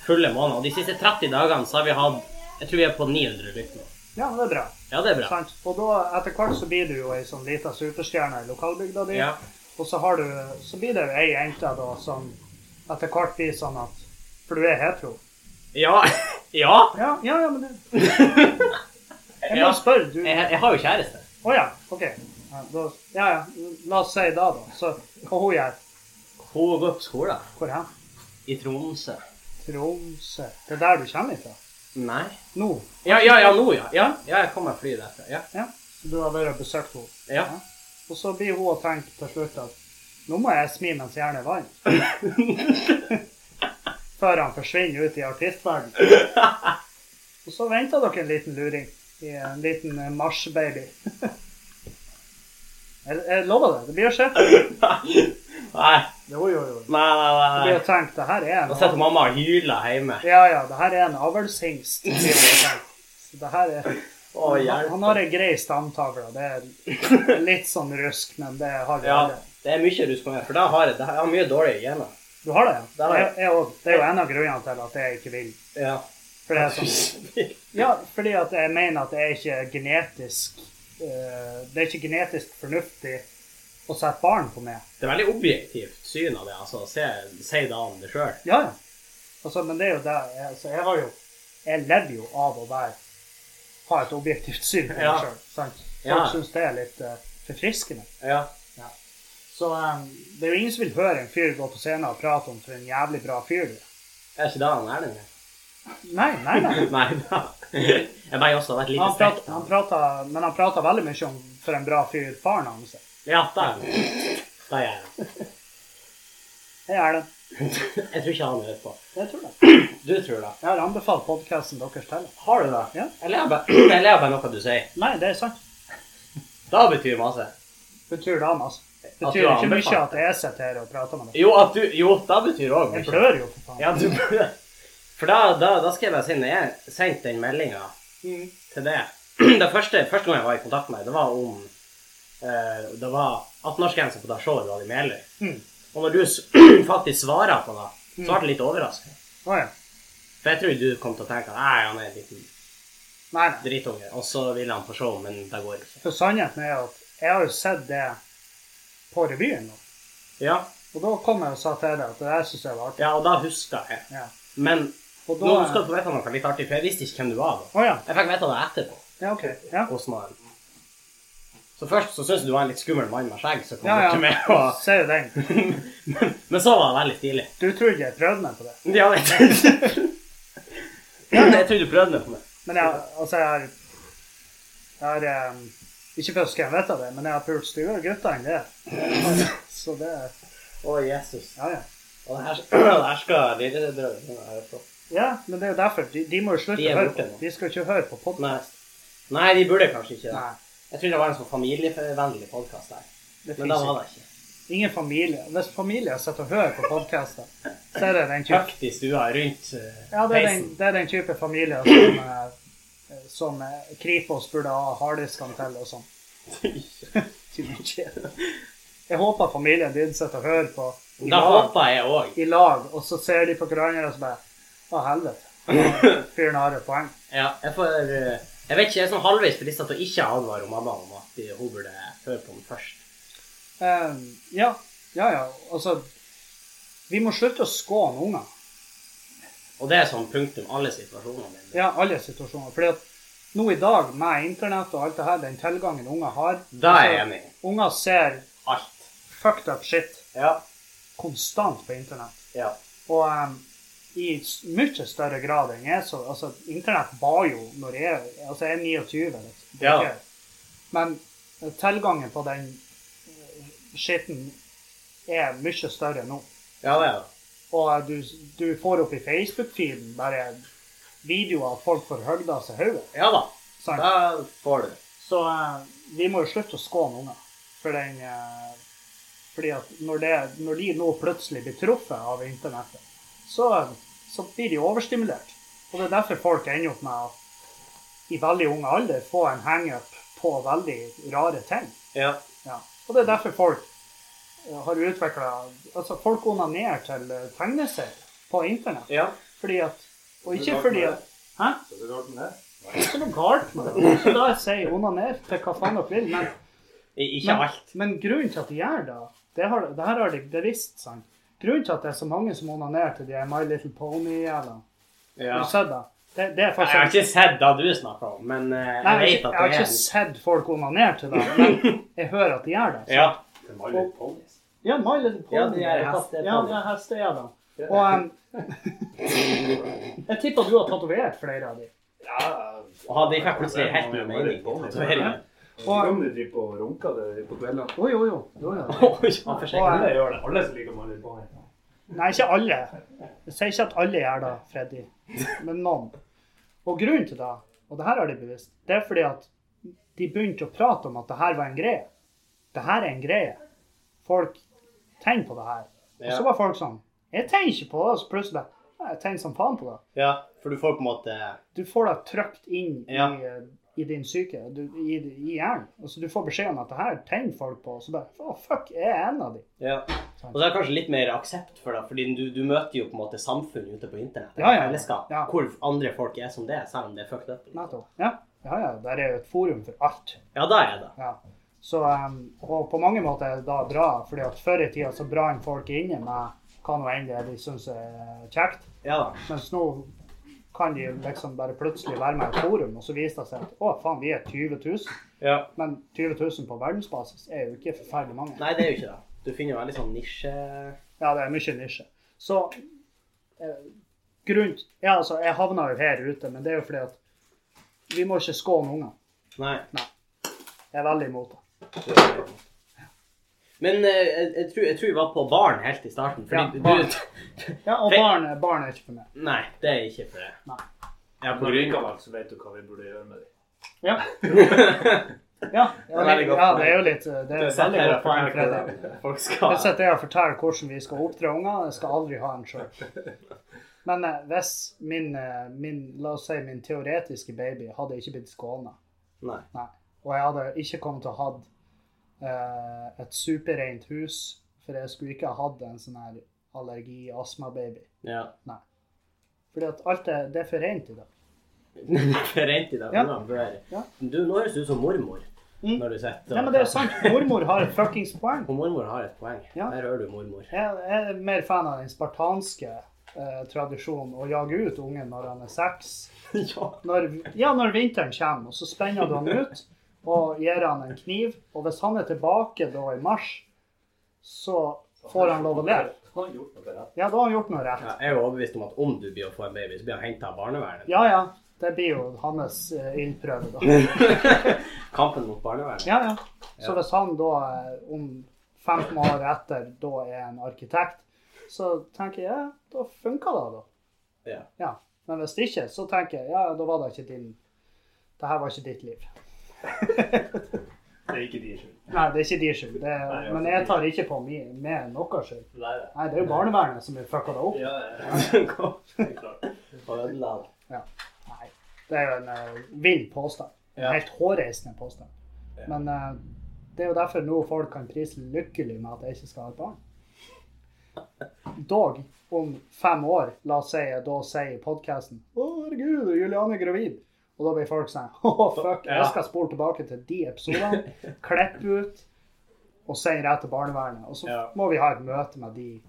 S1: fulle månedene. Og de siste 30 dagene så har vi hatt Jeg tror vi er på 900 lytt nå.
S2: Ja, det er bra.
S1: Ja, det er bra.
S2: Sant? Og da, etter hvert så blir du jo ei sånn lita superstjerne i lokalbygda di.
S1: Ja.
S2: Og så, har du, så blir det jo ei jente da som etter hvert blir sånn at For du er hetero.
S1: Ja. ja.
S2: Ja, ja, ja men du Jeg må
S1: Ja.
S2: spørre, du.
S1: Jeg, jeg har jo kjæreste.
S2: Å ja, OK. Ja, da, ja, ja, la oss si da, da. Så hva hun gjør
S1: Hun går på skolen
S2: Hvor hen?
S1: i Tromsø.
S2: Tromsø. Det er der du kommer ifra?
S1: Nei.
S2: Nå?
S1: Ja, ja, ja, nå, ja. Ja, ja jeg kommer fly derfra. Ja.
S2: Ja. Du har vært og besøkt henne?
S1: ja.
S2: Og så blir hun og tenker til slutt at nå må jeg smi mens hjernen er varm. Før han forsvinner ut i artistverdenen. Og så venter dere en liten luring. i En liten eh, marsjbaby. Jeg, jeg lover det. Det blir å skje.
S1: Nei,
S2: Jo, jo, jo.
S1: nei, nei.
S2: Det
S1: nei.
S2: blir å tenke det her er
S1: Nå
S2: en
S1: sitter mamma og hyler hjemme.
S2: Ja, ja, det her er en avlshingst. blir det å tenke. Så det her er
S1: Å,
S2: han,
S1: hjelp.
S2: han har ei grei stamtavle. Det er litt sånn rusk, men det har vi
S1: Ja,
S2: alle.
S1: det er mye rusk på meg, for da har jeg, da har jeg mye dårlige gener.
S2: Du har det, ja?
S1: Det har jeg.
S2: jeg. jeg også. det er jo en av grunnene til at jeg ikke vil.
S1: Ja.
S2: For det er sånn, ja, fordi at jeg mener at det er ikke genetisk eh, Det er ikke genetisk fornuftig å sette barn på meg.
S1: Det er veldig objektivt syn av det. altså. Se, si da om det sjøl.
S2: Ja, ja. Altså, men det er jo det jeg, altså, jeg har jo Jeg lever jo av å være ha et objektivt syn på meg
S1: Ja.
S2: sjøl. Folk
S1: Ja.
S2: syns det er litt eh, forfriskende.
S1: Ja.
S2: Så eh, det er jo ingen som vil høre en fyr gå på scenen og prate om for en jævlig bra fyr du er.
S1: Er ikke det han Erlend er?
S2: Nei, nei, nei.
S1: Nei da. Jeg bare også har vært lite
S2: han
S1: stekt.
S2: prater, han prater, men han prater veldig mye om for en bra fyr faren hans er.
S1: Ja, det er han. Det er han.
S2: Det er det.
S1: Jeg tror ikke han hører på.
S2: Jeg tror det.
S1: Du tror det.
S2: Jeg har anbefalt podkasten deres til. ham.
S1: Har du det?
S2: Ja.
S1: Jeg ler bare, jeg ler bare noe du sier.
S2: Nei, det er sant.
S1: Det betyr masse.
S2: Betyr det han, altså?
S1: At du
S2: Betyr ikke
S1: anbefaler
S2: mye at jeg sitter her og prater med deg.
S1: Jo, at du, jo det betyr òg
S2: Jeg blør jo, for faen.
S1: Ja, du For da, da, da skal jeg bare si når jeg sendte den meldinga
S2: Mm.
S1: til det Det første, første gang jeg var i kontakt med deg, det var om eh, Det var 18-årsgrense på Dashore du hadde i Meløy.
S2: Mm.
S1: Og når du s- faktisk svarer på det, så ble jeg litt overraska.
S2: Å ja.
S1: For jeg trodde du kom til å tenke at nei, han er en liten
S2: Nei, nei.
S1: drittunge, og så vil han på show, men det går ikke.
S2: For sannheten er at jeg har jo sett det på revyen nå.
S1: Ja,
S2: Og da kom jeg og sa til deg at det der syns jeg var artig.
S1: ja og da huska jeg.
S2: Ja.
S1: Men
S2: Og
S1: nå
S2: da
S1: skal du få vite noe litt artig, for jeg visste ikke hvem du var. da.
S2: Å ja.
S1: Jeg fikk vite det etterpå.
S2: Ja, OK. Ja.
S1: hos Maren. Så først så syntes du var en litt skummel mann med skjegg som kom
S2: Ja,
S1: bort til
S2: ja.
S1: meg, og,
S2: Ser jo den.
S1: men, men så var det veldig stilig.
S2: Du trodde jeg prøvde meg på det.
S1: Ja, jeg trodde Ja, men jeg trodde du prøvde meg på meg.
S2: Men jeg, altså, jeg har, jeg har um, Ikke for å skrive vite det, men jeg har pult styggere gutter enn det. Så det
S1: Å, Jesus.
S2: Ja, ja.
S1: Og det her, det her skal lillebrødrene høre på.
S2: Ja, men det er jo derfor. De, de må jo
S1: De
S2: slutte
S1: er
S2: å høre
S1: borte
S2: på.
S1: nå.
S2: De skal ikke høre på podden.
S1: Nei. Nei, de burde kanskje ikke det.
S2: Nei.
S1: Jeg tror det var en sånn familievennlig podkast der.
S2: Det
S1: Men det
S2: finnes
S1: var
S2: ikke.
S1: det ikke.
S2: Ingen familie. Hvis familie sitter og hører på podkaster, så er det den type,
S1: Høyt i stua rundt eh,
S2: ja, det er den,
S1: peisen.
S2: det er den type familie som, eh, som eh, Kripos burde ha harddiskene til og sånn. Jeg håper familien din sitter og hører på i
S1: Da
S2: lag,
S1: håper jeg òg.
S2: i lag, og så ser de på hverandre og så bare Å, helvete. Fyren har et poeng.
S1: Ja, jeg får eh, Jeg vet ikke, jeg er sånn halvveis frista til å ikke advare mamma om at de- hun burde høre på den først.
S2: Eh, ja, ja, ja. Altså, vi må slutte å skåne unger.
S1: Og det er sånn punktum alle situasjonene mine.
S2: Ja, alle situasjoner. Fordi at nå i dag, med internett og alt det her, den tilgangen unger har
S1: Da er jeg
S2: altså,
S1: enig.
S2: Unger ser
S1: Alt.
S2: fucked up shit
S1: Ja.
S2: konstant på internett.
S1: Ja.
S2: Og em, i s- mye større grad enn jeg så Altså, internett var jo når jeg Altså, jeg er 29, liksom. Det er
S1: Ja.
S2: ikke- Men tilgangen på den eh, skitten er mye større nå.
S1: Ja, det er det.
S2: Og eh, du, du får opp i Facebook-feeden bare videoer av folk får høgda seg hodet.
S1: Ja da.
S2: sant?
S1: Da får du.
S2: Så eh, vi må jo slutte å skåne unger. For den, eh, fordi at når, det, når de nå plutselig blir truffet av internettet, så, så blir de overstimulert. Og det er derfor folk ender opp med å i veldig ung alder få en hangup på veldig rare ting.
S1: Ja.
S2: Ja. Og det er derfor folk eh, har utvikla Altså, folk onanerer til eh, tegneserier på internett.
S1: Ja.
S2: Fordi at Og
S3: Det er
S2: ikke
S3: rart
S2: fordi
S3: med
S2: at Hæ?
S3: Så det er rart med det.
S2: Det er ikke noe galt med det. Så da sier jeg onaner til hva faen dere vil. Men,
S1: I- Ikke
S2: men,
S1: alt.
S2: men grunnen til at de gjør det, det, har, det her har de det visst, sant? Grunnen til at det er så mange som onanerer til de her My Little Pony-jævlene,
S1: Ja.
S2: har du sett det? Det, det er
S1: Jeg har
S2: faktisk...
S1: ikke sett det du snakker om, men eh,
S2: Altså- Nei,
S1: jeg
S2: jeg,
S1: vet
S2: har
S1: at
S2: ikke- jeg har
S1: det er
S2: ikke sett folk onanere til det, men jeg hører at de gjør det. sant?
S1: Ja.
S3: Det var litt ponies.
S2: Ja, My Little Pony.
S1: Ja, de er hestejævler.
S2: Ja, de er hestejævler. Og um, em, jeg tipper du har tatovert flere av de.
S3: Ja,
S1: Og hadde ikke plutselig helt mye mening. på tatueringen.
S2: Og,
S3: Om du driver på og runker det på kveldene.
S2: jo, jo, jo. jo, jo.
S1: Oi, han får sjekke.
S2: eh,
S3: Alle gjør det. Alle som liker My Little Pony.
S2: Nei, ikke alle. Jeg sier ikke at alle gjør det, Freddy, men noen. Og grunnen til det, og det her har de bevisst, det er fordi at de begynte å prate om at det her var en greie. Det her er en greie. Folk tenner på det her. Og
S1: Ja.
S2: så var folk sånn Jeg tenner ikke på det. Og så plutselig «Nei, Jeg tenner som faen på det.
S1: Ja, for du får på en måte
S2: Du får det trykt inn
S1: Ja.
S2: i, i din psyke, du, i, i hjernen. Og så du får beskjed om at det her tenner folk på. Og så bare Å, fuck, jeg er en av de.
S1: Ja. Og så er det kanskje litt mer aksept for det, fordi du, du møter jo på en måte samfunn ute på internett.
S2: Ja, ja, ja.
S1: Fellesskap,
S2: Ja.
S1: Hvor andre folk er som det, selv om det er fucked up.
S2: Nettopp. Ja, ja, ja. Der er jo et forum for alt.
S1: Ja, da er det.
S2: Ja. Så, em, og på mange måter er det da bra, fordi at før i tida så brant folk inne med hva nå enn det er de syns er kjekt.
S1: Ja da.
S2: Mens nå kan de liksom bare plutselig være med i et forum, og så viser det seg at å, faen, vi er 20 000.
S1: Ja.
S2: Men 20 000 på verdensbasis er jo ikke forferdelig mange.
S1: Nei, det er jo ikke det. Du finner jo veldig sånn nisje...
S2: Ja, det er mye nisje. Så eh, grunn Ja, altså, jeg havna jo her ute, men det er jo fordi at vi må ikke skåne unger.
S1: Nei.
S2: Jeg er veldig imot det.
S1: Men eh, jeg, jeg, tror, jeg tror vi var på baren helt i starten.
S2: Ja,
S1: Fordi
S2: barn.
S1: du...
S2: Ja, og
S1: Fe-
S2: barn, barn er ikke for meg.
S1: Nei, det er ikke for det.
S2: Nei.
S1: Ja,
S3: På Rykavalg så vet du hva vi burde gjøre med dem.
S2: Ja. Ja, det
S1: er
S2: er,
S1: veldig godt
S2: ja,
S1: poeng.
S2: det er jo litt Det er
S1: Du
S2: et
S1: sitter
S2: veldig
S1: her
S2: godt
S1: og
S2: poeng,
S1: forteller
S2: Fredrik.
S1: hvordan folk
S2: Jeg
S1: skal
S2: sitter her og forteller hvordan vi skal oppdra unger. Jeg skal aldri ha en sjøl. Men eh, hvis min, eh, min, la oss si min teoretiske baby hadde ikke blitt skåna,
S1: Nei.
S2: nei, og jeg hadde ikke kommet til å ha eh, et superrent hus, for jeg skulle ikke ha hatt en sånn her allergi-astma-baby.
S1: Ja.
S2: Fordi at alt det, det er for rent i dag.
S1: Rent i dag.
S2: Ja.
S1: nå bør-
S2: Ja.
S1: Du, nå høres du ut som mormor
S2: Mm.
S1: når du sitter
S2: Nei, men det er sant. Mormor har et fuckings poeng.
S1: Og mormor har et poeng.
S2: Ja.
S1: Der hører du mormor.
S2: Jeg jeg er mer fan av den spartanske eh, tradisjonen å jage ut ungen når han er seks.
S1: ja.
S2: Når, ja, når vinteren kommer, og så spenner du han ut. og gir han en kniv. Og hvis han er tilbake da i mars, så får han lov å leve.
S4: Han har gjort noe rett.
S2: Ja, da har han gjort noe rett.
S1: Ja, jeg er jo overbevist om at om du blir å få en baby, så blir han henta av barnevernet.
S2: Ja ja, det blir jo hans eh, ildprøve, da.
S1: Kampen mot barnevernet.
S2: Ja, ja.
S1: Ja.
S2: Så hvis han da eh, om 15 år etter da er en arkitekt, så tenker jeg ja, da funka det, da.
S1: Ja.
S2: Ja. Men hvis ikke, så tenker jeg ja, da var det ikke din Det her var ikke ditt liv.
S3: Det er ikke de skyld.
S2: Nei, det er ikke din skyld. Det er,
S3: Nei,
S2: men jeg tar ikke på mi, med noe skyld.
S4: Nei, det.
S2: Nei, det er jo barnevernet som fucka det opp.
S4: Ja, ja, ja, klart.
S1: Og ødela det.
S2: Nei. Det er jo en eh, vill påstand. En
S1: Ja.
S2: helt hårreisende påstand.
S1: Ja.
S2: Men eh, det er jo derfor nå folk kan prise lykkelig med at jeg ikke skal ha et barn. Dog, om fem år, la oss si jeg da sier i podkasten 'Å, herregud, Juliane er gravid'. Og da blir folk sånn 'Å, fuck,
S1: Ja.
S2: jeg skal spole tilbake til de episodene', klippe ut og si rett til barnevernet. Og så
S1: Ja.
S2: må vi ha et møte med de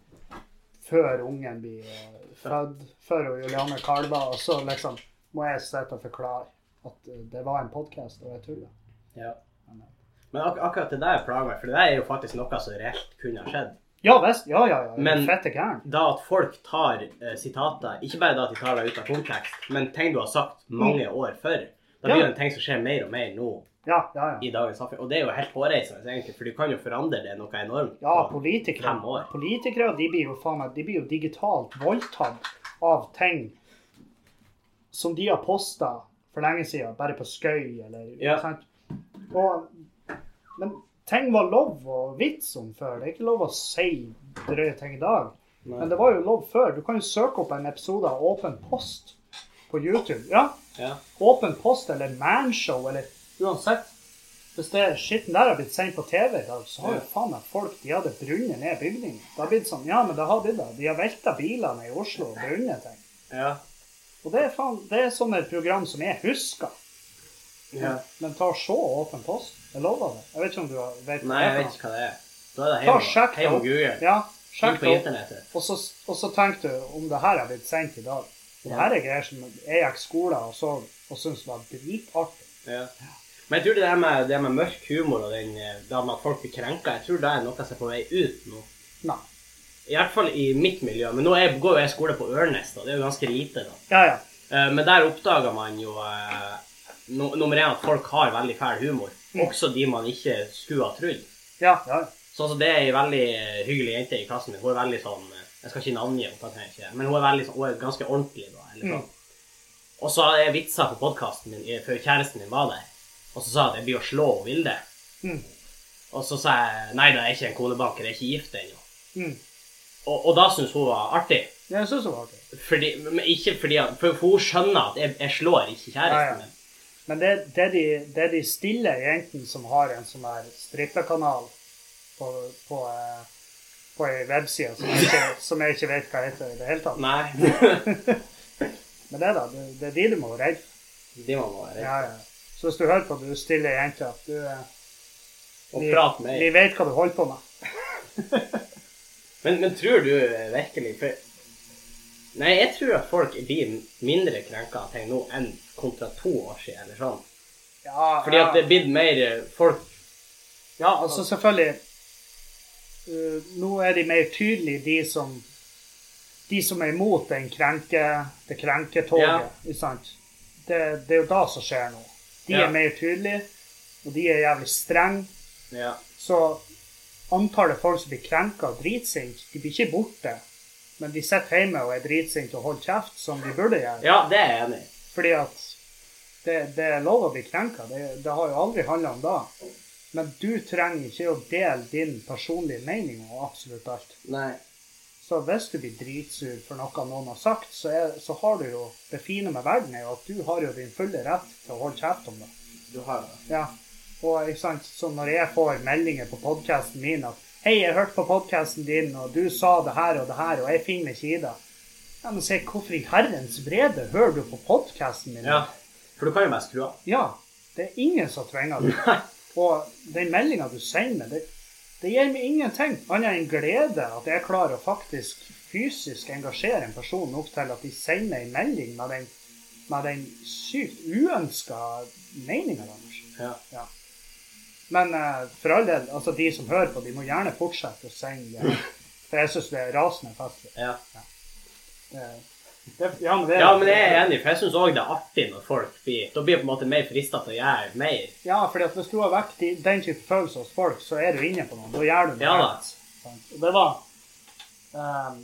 S2: før ungen blir eh, født, før hun Juliane kalver, og så liksom må jeg sitte og forklare at eh, det var en podkast, og jeg tuller.
S1: Ja. Men ak akkurat det der plager meg, for det der er jo faktisk noe som reelt kunne ha skjedd.
S2: Ja visst, ja ja, ja.
S1: Men-
S2: Men, fette gæren.
S1: Da at folk tar eh, sitater, ikke bare da at de tar det ut av kontekst, men ting du har sagt mange år før, da blir
S2: Mm.
S1: det
S2: Ja.
S1: en ting som skjer mer og mer nå
S2: Ja, ja, ja.
S1: i dagens samfunn. Og det er jo helt hårreisende, egentlig, for du kan jo forandre det noe enormt.
S2: Ja,
S1: på-
S2: politikere,
S1: Fem år.
S2: politikere de blir jo faen meg, de blir jo digitalt voldtatt av ting som de har posta for lenge siden, bare på skøy eller
S1: Ja.
S2: sant? Og, men ting var lov å vitse om før. Det er ikke lov å si drøye ting i dag.
S1: Nei.
S2: Men det var jo lov før. Du kan jo søke opp en episode av Åpen post på YouTube. Ja,
S1: Ja.
S2: Åpen post eller manshow eller uansett. Hvis det skitten der har blitt sendt på TV i dag, så har jo faen meg folk de hadde brunnet ned bygninger. Det har blitt sånn, ja, men det har blitt det. De har velta bilene i Oslo og brunnet ting.
S1: Ja.
S2: Og det er faen, det er sånne program som jeg husker.
S1: ja.
S2: Men ta og se Åpen post. Jeg lover det. Jeg vet ikke om du har- vet
S1: Nei, jeg vet ikke hva det er. Da er det
S2: Ta og
S1: hjemme,
S2: sjekk det
S1: hjemme
S2: opp.
S1: Google.
S2: Ja,
S1: Sjekk
S2: sjekk
S1: på
S2: det opp.
S1: internettet.
S2: Og så, og så tenkte du om det her har blitt sendt i dag. Det her er greier som jeg gikk skolen og så og syntes var dritartig.
S1: Ja. Men jeg tror det der med, det med mørk humor og den, eh, det med at folk blir krenka, jeg tror det er noe som er på vei ut nå.
S2: Nei.
S1: I hvert fall i mitt miljø. Men nå er, går jo jeg skole på Ørnes, da. Det er jo ganske lite, da.
S2: Ja, ja.
S1: Eh, Men der oppdager man jo eh, nu- nummer én at folk har veldig fæl humor.
S2: Mm.
S1: Også de man ikke skulle ha trodd.
S2: Ja, ja. ja.
S1: Sånn som det er ei veldig hyggelig jente i klassen min. Hun er veldig sånn eh, Jeg skal ikke navngi henne, det kan jeg ikke, men hun er, veldig, sånn- hun er ganske ordentlig. da, eller
S2: Mm.
S1: sånn. Og så hadde jeg vitser på podkasten min eh, før kjæresten min var der. Og så sa jeg at jeg blir å slå hun Vilde.
S2: Mm.
S1: Og så sa jeg nei, det er ikke en konebanker, jeg er ikke gift ennå.
S2: Mm.
S1: Og, og da syntes hun var artig.
S2: Jeg syns det var artig.
S1: Fordi, men ikke fordi at, for, for hun skjønner at jeg, jeg slår ikke
S2: Ja, ja.
S1: kjæresten min.
S2: Men det, det, er de, det er de stille jentene som har en sånn her strippekanal på, på, eh, på ei webside som jeg, ikke, som jeg ikke vet hva heter i det hele tatt.
S1: Nei.
S2: Men det da, det, det er de du må være redd for.
S1: De må man være.
S2: Ja, ja. Så hvis du hører på du stille jenter at du eh,
S1: Og
S2: vi,
S1: prate med
S2: vi vet hva du holder på med.
S1: Men, men tror du virkelig for... Nei, jeg tror at folk blir mindre krenka av ting nå enn kontra to år siden. eller sånn.
S2: Ja,
S1: Fordi at det er blitt mer eh, folk
S2: Ja, altså selvfølgelig eh, Nå er de mer tydelige, de som de som er imot den krenke, det krenketoget.
S1: Ja.
S2: ikke sant? Det, det er jo da som skjer nå. De
S1: Ja.
S2: er mer tydelige, og de er jævlig strenge.
S1: Ja.
S2: Så antallet folk som blir krenka og dritsinte, de blir ikke borte. Men de sitter hjemme og er dritsinte og holder kjeft, som de burde gjøre.
S1: ja, det er jeg enig i.
S2: Fordi at det, det er lov å bli krenka. Det, det har jo aldri handla om det. Men du trenger ikke å dele din personlige mening om absolutt alt.
S1: Nei.
S2: Så hvis du blir dritsur for noe noen har sagt, så, er, så har du jo Det fine med verden er jo at du har jo din fulle rett til å holde kjeft om det.
S1: Du har det.
S2: Ja. Og ikke sant, så når jeg får meldinger på podkasten min at Hei, jeg hørte på podkasten din, og du sa det her og det her, og jeg finner meg ikke i det. Ja, men se, hvorfor i herrens vrede hører du på podkasten min?
S1: Ja. For du kan jo bare skru av.
S2: Ja. Det er ingen som tvinger deg. Og den meldinga du sender meg, det, det gir meg ingenting annet enn glede at jeg klarer å faktisk fysisk engasjere en person nok til at de sender meg en melding med den, med den sykt uønska meninga deres.
S1: Ja.
S2: Ja. Men eh, for all del, altså de som hører på, de må gjerne fortsette å sende. eh, For jeg syns det er rasende festlig.
S1: Ja.
S2: Eh, det- Ja, men det
S1: ja, men jeg er enig, for jeg syns òg det er artig når folk blir Da blir jeg på en måte mer frista til å gjøre mer.
S2: Ja, fordi at hvis du har vekk de- den type følelser hos folk, så er du inne på noe. Da gjør du noe.
S1: Ja da.
S2: Sant? Og det var ehm,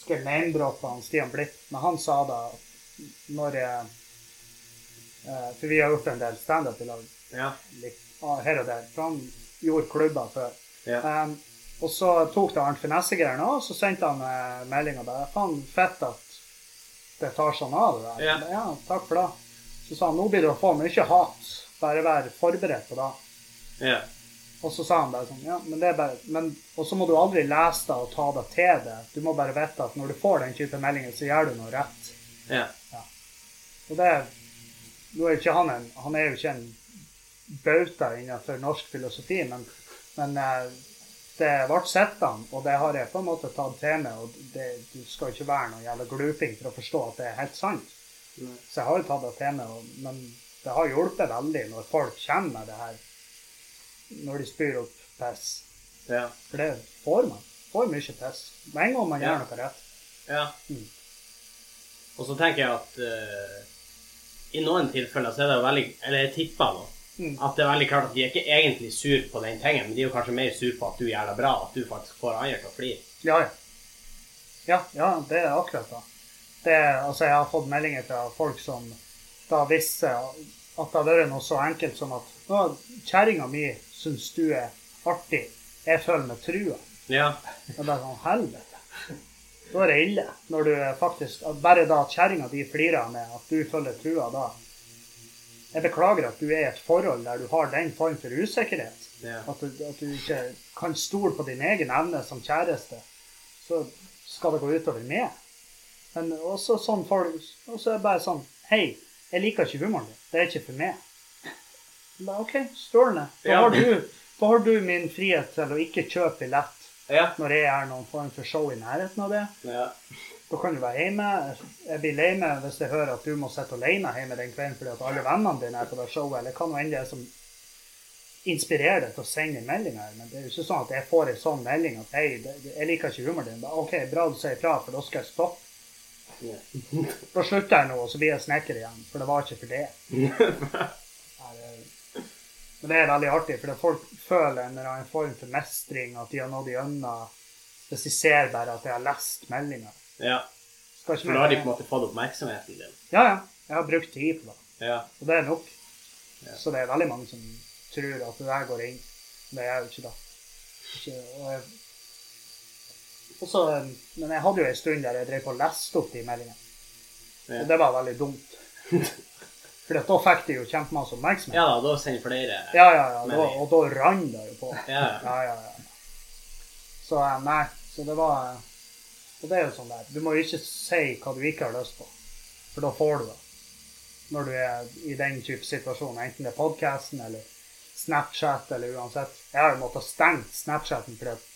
S2: Skal jeg name-droppe han Stian Blipp? Men han sa da når jeg eh, For vi har gjort en del standup i lag
S1: Ja.
S2: litt, ah, her og der. For han gjorde klubber før.
S1: Ja.
S2: Ehm, og så tok det Arnt Finesse-greiene òg, og så sendte han eh, melding og bare Faen, fett at det tar sånn av, det der.
S1: Ja.
S2: ja, takk for det. Så sa han nå blir du å få mye hat. Bare vær forberedt på det.
S1: ja.
S2: Og så sa han bare sånn, ja, men det er bare, men, og så må du aldri lese det og ta det til det. Du må bare vite at når du får den type meldinger, så gjør du noe rett.
S1: ja.
S2: Og det, nå er jo ikke han en, han er jo ikke en bauta innenfor norsk filosofi, men, men eh, det ble sett han, og det har jeg på en måte tatt til meg, og det, du skal ikke være noe jævla gluping for å forstå at det er helt sant.
S1: Nei.
S2: Så jeg har jo tatt det til meg, og, men det har hjulpet veldig når folk kommer med det her, når de spyr opp piss.
S1: ja.
S2: For det får man. Får mye piss. Med en gang man
S1: Ja.
S2: gjør noe rett.
S1: Ja.
S2: Mm.
S1: Og så tenker jeg at eh, i noen tilfeller så er det jo veldig Eller jeg tipper da,
S2: Mm.
S1: at det er veldig klart at de er ikke egentlig sur på den tingen, men de er jo kanskje mer sur på at du gjør det bra, at du faktisk får andre til å flire.
S2: Ja, ja. Ja, ja, det er akkurat det. det er- altså, jeg har fått meldinger fra folk som da visste at det hadde vært noe så enkelt som at «Å, kjerringa mi syns du er artig. Jeg føler meg trua.
S1: Ja.
S2: Det er bare sånn helvete. Da er det ille. Når du faktisk at Bare da at kjerringa di flirer med at du følger trua, da Jeg beklager at du er i et forhold der du har den form for usikkerhet.
S1: Ja.
S2: At du, at du ikke kan stole på din egen evne som kjæreste. Så skal det gå utover meg. Men også sånn folk Og så er det bare sånn Hei, jeg liker ikke humoren din. Det er ikke for meg. Da, OK, strålende. Da
S1: Ja.
S2: har, du, da har du min frihet til å ikke kjøpe billett
S1: Ja.
S2: når jeg gjør noen form for show i nærheten av det.
S1: ja.
S2: Da kan du være hjemme. Jeg blir lei meg hvis jeg hører at du må sitte alene hjemme den kvelden fordi at alle vennene dine er på det showet, eller hva nå enn det er som inspirerer deg til å sende en melding her. Men det er jo ikke sånn at jeg får en sånn melding at hei, det- jeg liker ikke humoren din. Da, OK, bra du sier ifra, for da skal jeg stoppe. Da slutter jeg nå, og så blir jeg snekker igjen. For det var ikke for det. Nei, det- Men det er veldig artig, for folk føler en eller annen form for mestring, at de har nådd igjennom. Hvis de ser bare at jeg har lest meldinga.
S1: ja.
S2: Skal ikke
S1: For da har de
S2: mer-
S1: på en måte fått oppmerksomheten din.
S2: Ja, ja. Jeg har brukt tid på det.
S1: Ja.
S2: Og det er nok.
S1: Ja.
S2: Så det er veldig mange som tror at det der går inn. Men det er jo ikke det. Ikke, og jeg, også, men jeg hadde jo en stund der jeg drev på og leste opp de meldingene.
S1: Ja.
S2: Og det var veldig dumt. For da fikk de jo kjempemasse oppmerksomhet.
S1: ja da, da sender flere
S2: Ja, ja, ja. Da,
S1: Meldinger.
S2: og da rann det jo på.
S1: Ja.
S2: Ja, ja, ja. Så eh, nei, så det var eh, Og det er jo sånn der. Du må jo ikke si hva du ikke har lyst på, for da får du det. Når du er i den type situasjon, enten det er podkasten eller Snapchat eller uansett. Jeg har jo måttet stenge Snapchaten fordi at,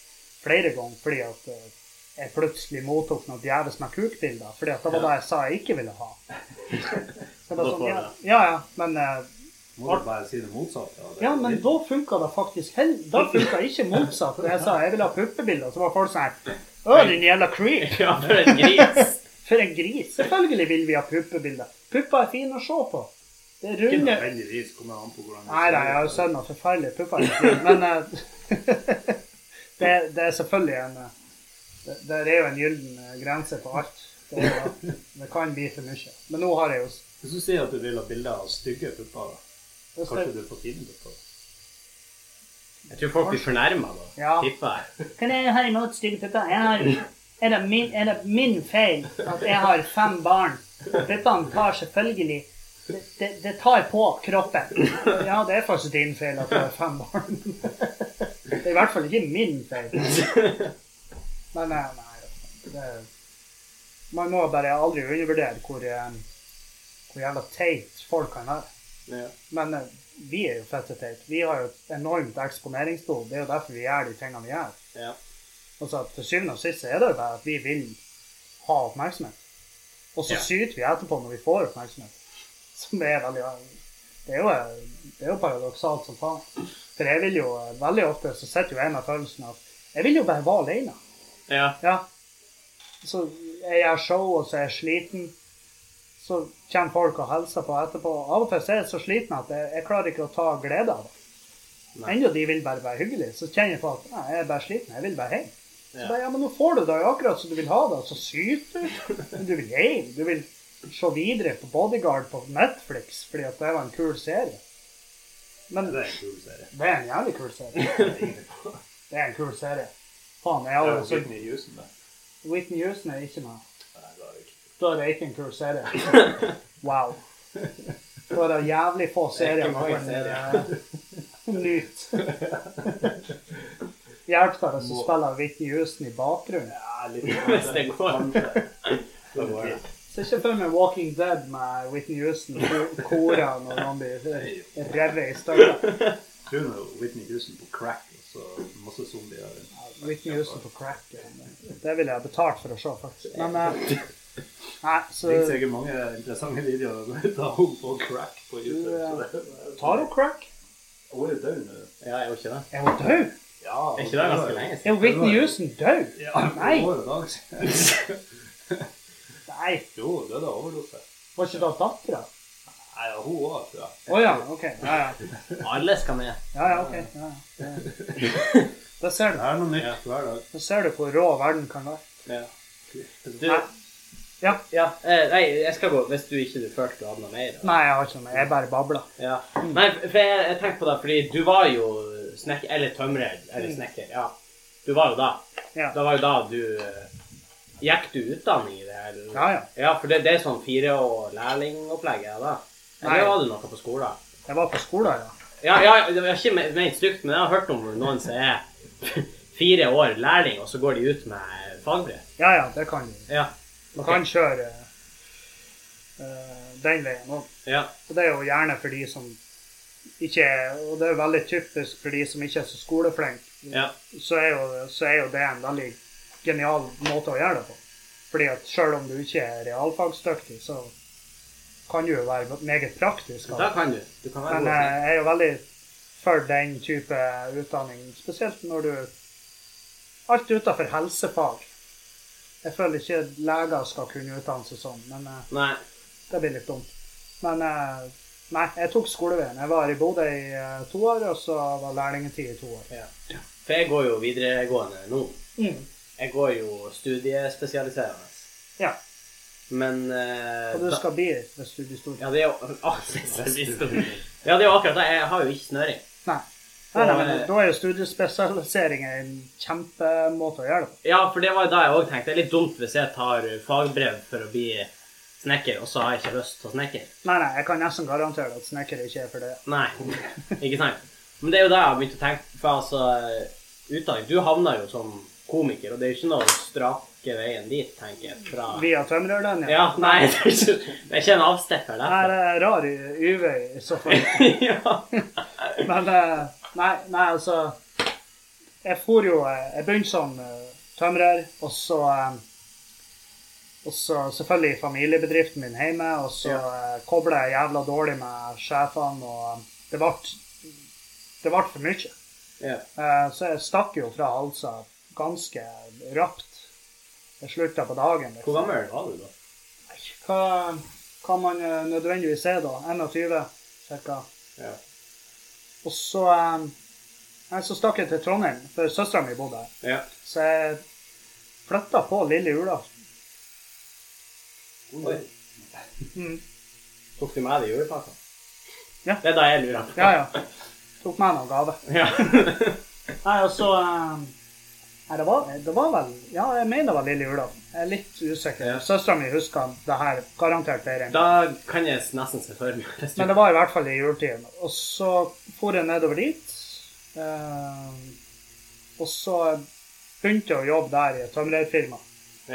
S2: flere ganger fordi at eh, jeg plutselig mottok noen djeves meg kukbilder, fordi at det var det jeg sa jeg ikke ville ha. Så det var
S1: Da
S2: sånn,
S1: får
S2: ja,
S1: du
S2: ja, ja, men eh,
S3: Må du bare si det motsatte? av det
S2: ja,
S3: du
S2: men
S3: vil?
S2: da funka det faktisk hell... Da funka ikke motsatt. For jeg sa jeg ville ha puppebilder, så var folk sånn her Å, din jævla creep!
S1: ja, for en gris.
S2: For en gris! Selvfølgelig vil vi ha puppebilder. Pupper er fine å se på. Det er
S3: Ikke
S2: runde
S3: nødvendigvis kommer an på hvordan du
S2: Nei,
S3: ser
S2: nei, jeg har jo
S3: det.
S2: sett noen forferdelige pupper. i mitt liv, Men eh, det, det er selvfølgelig en eh, det, det er jo en gyllen eh, grense på alt. Det, er jo- det kan bli for mye. Men nå har jeg jo s-
S3: Hvis du sier at du vil ha bilder av stygge pupper, da,
S2: hvis
S3: kanskje
S2: det-
S3: du får fine pupper?
S1: Jeg tror folk blir fornærma da.
S2: Ja.
S1: Tipper jeg.
S2: Hva er det her imot stygge pupper? Jeg har, er, det min, er det min feil at jeg har fem barn? Puppene tar selvfølgelig det, det, det tar på kroppen. Ja, det er faktisk din feil at du har fem barn. Det er i hvert fall ikke min feil. Men nei, nei det, Man må bare aldri undervurdere hvor, eh, hvor jævla teit folk kan være.
S1: Ja.
S2: Men eh, vi er jo fette teite. Vi har jo et enormt eksponeringsbehov. Det er jo derfor vi gjør de tingene vi gjør.
S1: Ja.
S2: Altså at Til syvende og sist så er det jo bare at vi vil ha oppmerksomhet. Og så
S1: Ja.
S2: syter vi etterpå når vi får oppmerksomhet. Som det er veldig Det er jo, det er jo paradoksalt som faen. For jeg vil jo veldig ofte så sitter jo jeg med følelsen av Jeg vil jo bare være alene.
S1: Ja.
S2: Ja. Så jeg gjør show, og så er jeg sliten. Så kommer folk og hilser på etterpå. Av og til så er jeg så sliten at jeg, jeg klarer ikke å ta glede av det.
S1: Nei.
S2: Enda de vil bare være hyggelige. Så kjenner jeg på at nei, jeg er bare sliten, jeg vil bare hjem. Så
S1: Ja.
S2: bare, ja, men nå får du det jo akkurat som du vil ha det, og så syter du. Men du vil hjem. Du vil se videre på Bodyguard på Netflix fordi at det var en kul serie. Men
S3: Det er en kul serie.
S2: det er en jævlig kul serie. Det er en kul serie. Faen, jeg
S4: Ja,
S2: har
S4: det
S2: jo
S4: er
S2: så
S4: Whitney Houston, det.
S2: Whitney Houston er ikke med.
S4: Nei, det er det ikke.
S2: Da er det ikke en kul serie. Wow. Da er det jævlig få serier
S1: ikke
S2: man
S1: mange
S2: kan eh, nyte. Hjelper det hvis du spiller Whitney Houston i bakgrunnen?
S3: Ja, litt
S1: Hvis det går.
S3: Da går det.
S2: Ser ikke for meg Walking Dead med Whitney Houston ko- kora når noen blir revet i stykker.
S3: Tror nå Whitney Houston på crack og så masse zombier rundt.
S2: Whitney Houston på crack. ja. Det ville jeg betalt for å se, faktisk. Men eh, Nei, så
S3: Det finnes sikkert mange interessante videoer av henne på crack på YouTube. så det-
S2: tar hun crack.
S3: Hun er jo død nå.
S1: Ja, jeg gjorde ikke det.
S2: Er hun død?
S3: Ja,
S1: Er ikke det ganske lenge siden?
S2: Er Whitney Houston død?
S3: Ja,
S2: Nei.
S3: Hun er jo dag siden.
S2: Nei,
S3: Jo, hun døde av overdose.
S2: var ikke det dattera?
S3: Nei, ja, hun òg, tror jeg.
S2: Å ja, OK. Ja, ja.
S1: Alle skal med.
S2: Ja, ja, ok. Ja, ja. Da ser
S3: Det
S2: du.
S3: er noe nytt hver dag.
S2: Da ser du hvor rå verden kan være.
S1: Ja. Du,
S2: Nei. Ja.
S1: ja, eh, nei, jeg skal gå hvis du ikke du følte du hadde noe mer. da.
S2: Nei, Mm. jeg har ikke noe mer. Jeg bare babler.
S1: Ja. Nei, for jeg, jeg tenkte på det, fordi du var jo snekker, eller tømrer, eller snekker, ja. Du var jo da.
S2: Mm. Ja.
S1: Det var jo da du eh, Gikk du utdanning i det her? eller?
S2: Ja, ja.
S1: Ja, for det, det er sånn fire- og lærlingopplegget, da.
S2: Nei.
S1: Eller var det noe på skolen?
S2: Jeg var på skolen, ja.
S1: Ja, ja, det var ikke me- ment stygt, men jeg har hørt om noen som er fire år lærling, og så går de ut med fagbrev.
S2: Ja, ja, det kan du.
S1: Ja.
S2: Du
S1: ok.
S2: kan kjøre eh, den veien òg.
S1: Ja.
S2: Og det er jo gjerne for de som ikke er Og det er jo veldig typisk for de som ikke er så skoleflinke.
S1: ja.
S2: så er, jo, så er jo det en veldig genial måte å gjøre det på. Fordi at selv om du ikke er realfagsdyktig, så kan du jo være meget praktisk. av
S1: Da
S2: det.
S1: kan du. Du kan være
S2: Men
S1: god.
S2: eh, jeg er jo veldig for den type utdanning, spesielt når du Alt utenfor helsefag. Jeg føler ikke leger skal kunne utdanne seg sånn, men eh,
S1: Nei.
S2: det blir litt dumt. Men eh, nei, jeg tok skoleveien. Jeg var i Bodø i eh, to år, og så var lærlingetid i to år.
S1: Ja. For jeg går jo videregående nå.
S2: Mm.
S1: Jeg går jo studiespesialiserende.
S2: Ja.
S1: Men eh,
S2: Og du
S1: da-
S2: skal bli hvis du blir stor.
S1: Ja, det er jo ah, jeg visste det. Ja, det er jo akkurat det. Jeg har jo ikke snøring.
S2: Nei. Nei, nei, men
S1: Og, eh,
S2: Da er jo studiespesialisering en kjempemåte å gjøre det på.
S1: Ja, for det var jo da jeg òg tenkte. Det er litt dumt hvis jeg tar fagbrev for å bli snekker, og så har jeg ikke lyst til å snekker.
S2: Nei, nei, jeg kan nesten garantere at snekker ikke er for det.
S1: Nei, ikke sant. Men det er jo det jeg har begynt å tenke. For altså, utdanning Du havna jo som komiker, og det er jo ikke noe strake veien dit, tenker jeg. Fra
S2: Via tømrerlinja.
S1: Ja, nei, det er ikke, det er ikke en avstikker
S2: Nei,
S1: der.
S2: det er rar i- uvei i så fall.
S1: ja.
S2: Men eh, nei, nei, altså Jeg for jo eh, Jeg begynte som eh, tømrer, og så eh, Og så selvfølgelig i familiebedriften min hjemme, og så ja. kobla jeg jævla dårlig med sjefene, og det ble, det ble for mye.
S1: ja.
S2: Eh, Så jeg stakk jo fra halsa ganske rapt. Jeg slutta på dagen.
S1: Hvor gammel var du da?
S2: Hva, hva man eh, nødvendigvis er da. 21 cirka.
S1: Ja.
S2: Og så, eh, nei, så stakk jeg til Trondheim, for søstera mi bodde her.
S1: Ja.
S2: Så jeg flytta på lille julaften.
S1: Oi.
S2: Mm.
S1: Tok du med deg julepakka?
S2: Ja.
S1: Det er da jeg lurer på.
S2: Ja, ja. Tok med noen gave.
S1: Ja.
S2: Nei, og så eh, Nei, det var, det var vel Ja, jeg mener det var lille julaften. Jeg er litt usikker.
S1: Ja.
S2: Søstera mi husker det her garantert bedre enn
S1: da kan jeg nesten se for meg hvis du-
S2: Men det var i hvert fall i juletiden. Og så for jeg nedover dit. eh, og så begynte jeg å jobbe der i et tømrerfirma.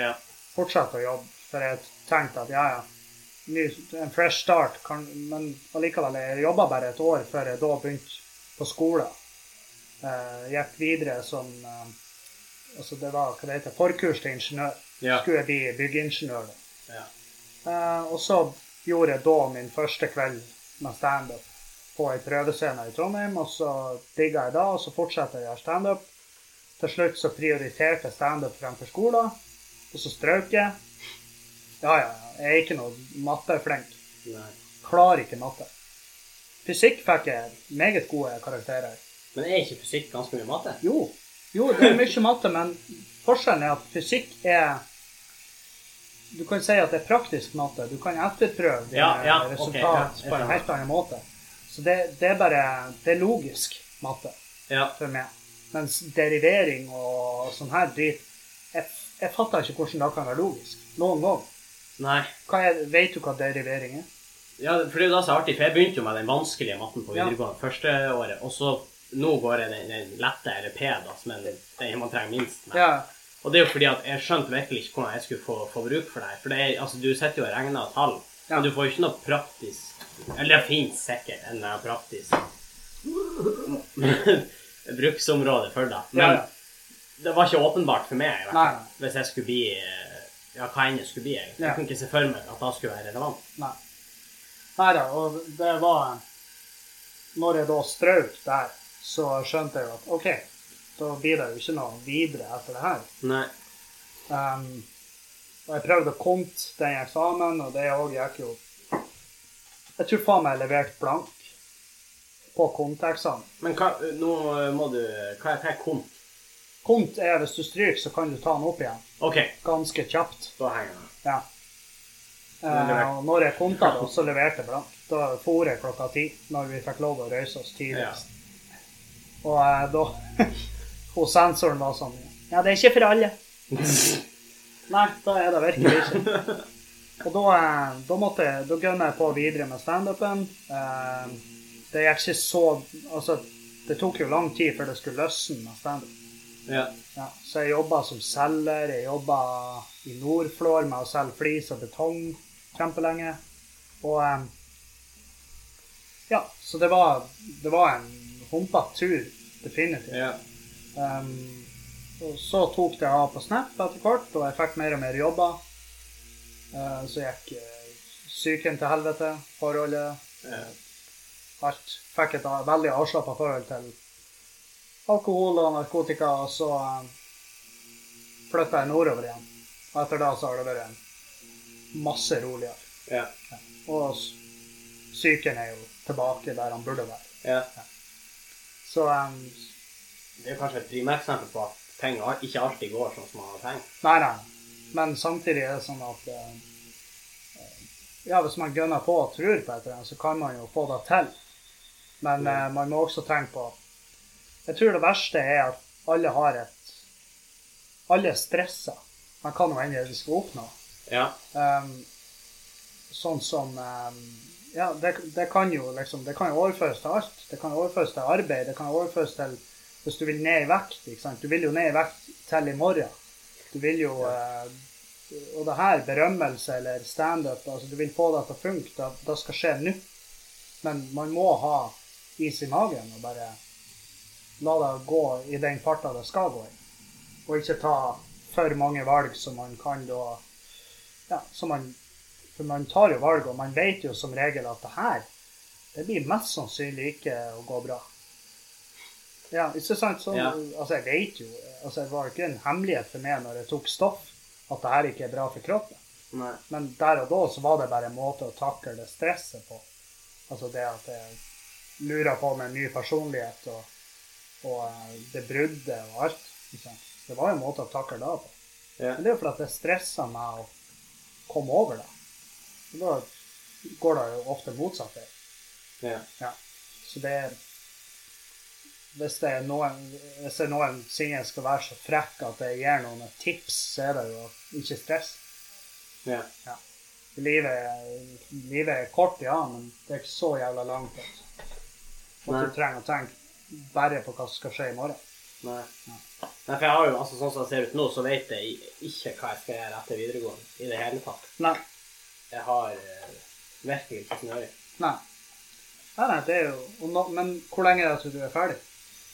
S1: Ja.
S2: Fortsatte å jobbe, for jeg tenkte at ja, ja, ny, en fresh start. Kan, men allikevel, jeg jobba bare et år før jeg da begynte på skole. Eh, gikk videre som eh, altså det var, hva det heter, forkurs til ingeniør.
S1: Ja.
S2: Skulle jeg bli byggeingeniør. da.
S1: Ja.
S2: Eh, og så gjorde jeg da min første kveld med standup. på ei prøvescene i Trondheim, og så digga jeg da, og så fortsatte jeg å gjøre standup. Til slutt så prioriterte jeg standup fremfor skolen, og så strøk jeg. Ja, ja, ja, jeg er ikke noe matteflink.
S1: Nei.
S2: Klarer ikke matte. Fysikk fikk jeg meget gode karakterer.
S1: Men er ikke fysikk ganske mye matte?
S2: Jo, jo, det er mye matte, men forskjellen er at fysikk er Du kan si at det er praktisk matte. Du kan etterprøve dine
S1: Ja, ja,
S2: resultat
S1: ok, ja, jeg
S2: på en
S1: skjønner.
S2: helt annen måte. Så det, det er bare Det er logisk matte
S1: Ja.
S2: for meg. Mens derivering og sånn her drit jeg, jeg fatter ikke hvordan det kan være logisk. Noen gang.
S1: Nei.
S2: Hva er, vet du hva derivering er?
S1: Ja, for det er jo da så artig, for jeg begynte jo med den vanskelige matten på
S2: Ja.
S1: videregående første året, og så nå går jeg den, den lette eller P, da, som er den den man trenger minst med.
S2: Ja,
S1: Og det er jo fordi at jeg skjønte virkelig ikke hvordan jeg skulle få, få bruk for det her. For det er, altså, du sitter jo og regner tall,
S2: Ja.
S1: men du får jo ikke noe praktisk Eller det finnes sikkert en eller annen praktisk bruksområde for det. Men
S2: ja, ja.
S1: det var ikke åpenbart for meg i hvert
S2: Nei,
S1: fall, hvis jeg skulle bli eh, Ja, hva enn jeg skulle bli. egentlig.
S2: Ja.
S1: Jeg kunne ikke se for meg at det skulle være relevant.
S2: Nei. Nei da, og det var Når jeg da strøk der, så skjønte jeg jo at OK, da blir det jo ikke noe videre etter det her.
S1: Nei.
S2: Ehm, og jeg prøvde å komme den eksamen, og det òg gikk jo Jeg tror faen meg jeg leverte blank på konteksamen.
S1: Men hva, nå må du Hva er hva er komp?
S2: Kont er hvis du stryker, så kan du ta den opp igjen
S1: OK,
S2: ganske kjapt.
S1: da henger jeg.
S2: Ja.
S1: Men
S2: Eh,
S1: levert.
S2: og når jeg konta det, så leverte jeg blank. Da for jeg klokka ti, når vi fikk lov å reise oss
S1: Ja.
S2: tidligst. Og eh, da Hun sensoren var sånn Ja, det er ikke for alle. Nei, da er det virkelig ikke. Og da, eh, da måtte jeg, da gønna jeg på videre med standupen. Eh, det gikk ikke så Altså, det tok jo lang tid før det skulle løsne med standup.
S1: Ja.
S2: Ja, så jeg jobba som selger, jeg jobba i Nordflor med å selge flis og betong kjempelenge. Og em, Ja, så det var, det var en humpete tur, definitivt.
S1: ja.
S2: Em, og så tok det av på Snap etter hvert, og jeg fikk mer og mer jobber. Eh, så gikk eh, psyken til helvete, forholdet,
S1: ja.
S2: alt. Fikk et av- veldig avslappa forhold til alkohol og narkotika, og så flytta jeg nordover igjen. Og etter det så har det vært masse roligere.
S1: ja.
S2: Og s- psyken er jo tilbake der han burde være.
S1: ja.
S2: Så eh, em,
S1: Det er jo kanskje et primereksempel på at ting al- ikke alltid går sånn som man har tenkt.
S2: Nei, nei. Men samtidig er det sånn at eh, ja, hvis man gønner på og tror på et eller annet, så kan man jo få det til. Men eh, man må også tenke på Jeg tror det verste er at alle har et Alle er stressa. Man kan jo endre det de skal oppnå.
S1: Ja.
S2: Ehm, sånn som ehm, Ja, det, det kan jo liksom Det kan jo overføres til alt. Det kan jo overføres til arbeid. Det kan jo overføres til Hvis du vil ned i vekt, ikke sant. Du vil jo ned i vekt til i morgen. Du vil jo eh, Og det her, berømmelse eller standup, altså du vil få det til å funke. Det, det skal skje nå. Men man må ha is i magen og bare la det gå i den farta det skal gå i. Og ikke ta for mange valg som man kan da ja, så man, for man tar jo valg, og man vet jo som regel at det her det blir mest sannsynlig ikke å gå bra. Ja, ikke sant? Sånn,
S1: Ja.
S2: Altså, jeg vet jo altså, Det var jo ikke en hemmelighet for meg når jeg tok stoff, at det her ikke er bra for kroppen.
S1: Nei.
S2: Men der og da så var det bare en måte å takle det stresset på. Altså det at jeg lurer på med en ny personlighet og, og eh, det bruddet og alt. ikke sant? Det var jo en måte å takle det på.
S1: Ja.
S2: Men det er jo fordi at det stresser meg å komme over det. Og da går det jo ofte motsatt vei.
S1: Ja.
S2: Ja. Så det er Hvis det er noen hvis det er noen siden jeg skal være så frekk at jeg gir noen et tips, så er det jo ikke stress.
S1: Ja.
S2: Livet, er- livet er kort, ja, men det er ikke så jævla langt. Altså. Og
S1: Nei.
S2: du trenger å tenke bare på hva som skal skje i morgen.
S1: Nei. Nei, for jeg har jo, altså sånn som det ser ut nå, så vet jeg ikke hva jeg skal gjøre etter videregående i det hele tatt.
S2: Nei.
S1: Jeg har eh, virkelig ikke snøring.
S2: Nei. Nei, nei, det er jo og nå- Men hvor lenge er det til du er ferdig?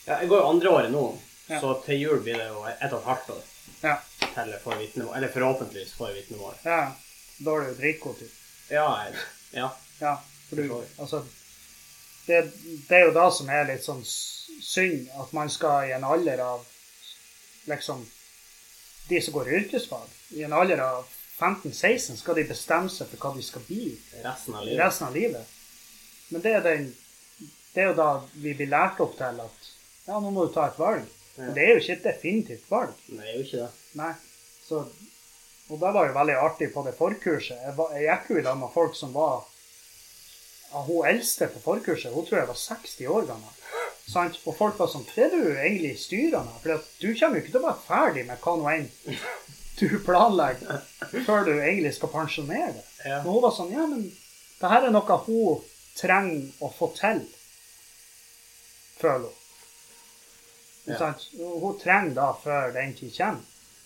S1: Ja, jeg går jo andre året nå,
S2: Ja.
S1: så til jul blir det jo ett og et halvt år
S2: Ja.
S1: til jeg får vitnemål. Eller forhåpentligvis får jeg vitnemål.
S2: ja. Da er det jo dritgod tid.
S1: Ja, jeg- ja.
S2: Ja. For
S1: For
S2: du,
S1: så vidt.
S2: altså det, det er jo det som er litt sånn s- synd, at man skal i en alder av liksom De som går yrkesfag, i en alder av 15-16 skal de bestemme seg for hva de skal bli
S1: Resten av livet.
S2: resten av livet. Men det er, den, det er jo da vi blir lært opp til at ja, nå må du ta et valg. Men det er jo ikke et definitivt valg.
S1: Nei, det er jo ikke det.
S2: Nei. Så, og det var jo veldig artig på det forkurset. Jeg, var, jeg gikk jo i lag med folk som var ja, Hun eldste på forkurset, hun tror jeg var 60 år gammel. Sant? Og folk var sånn Det er du egentlig styrende, for at du kommer jo ikke til å være ferdig med hva nå enn du planlegger før du egentlig skal pensjonere deg.
S1: Ja.
S2: Men hun var sånn Ja, men det her er noe hun trenger å få til, føler hun.
S1: Ja.
S2: Sant? Hun trenger da, før den tid kommer,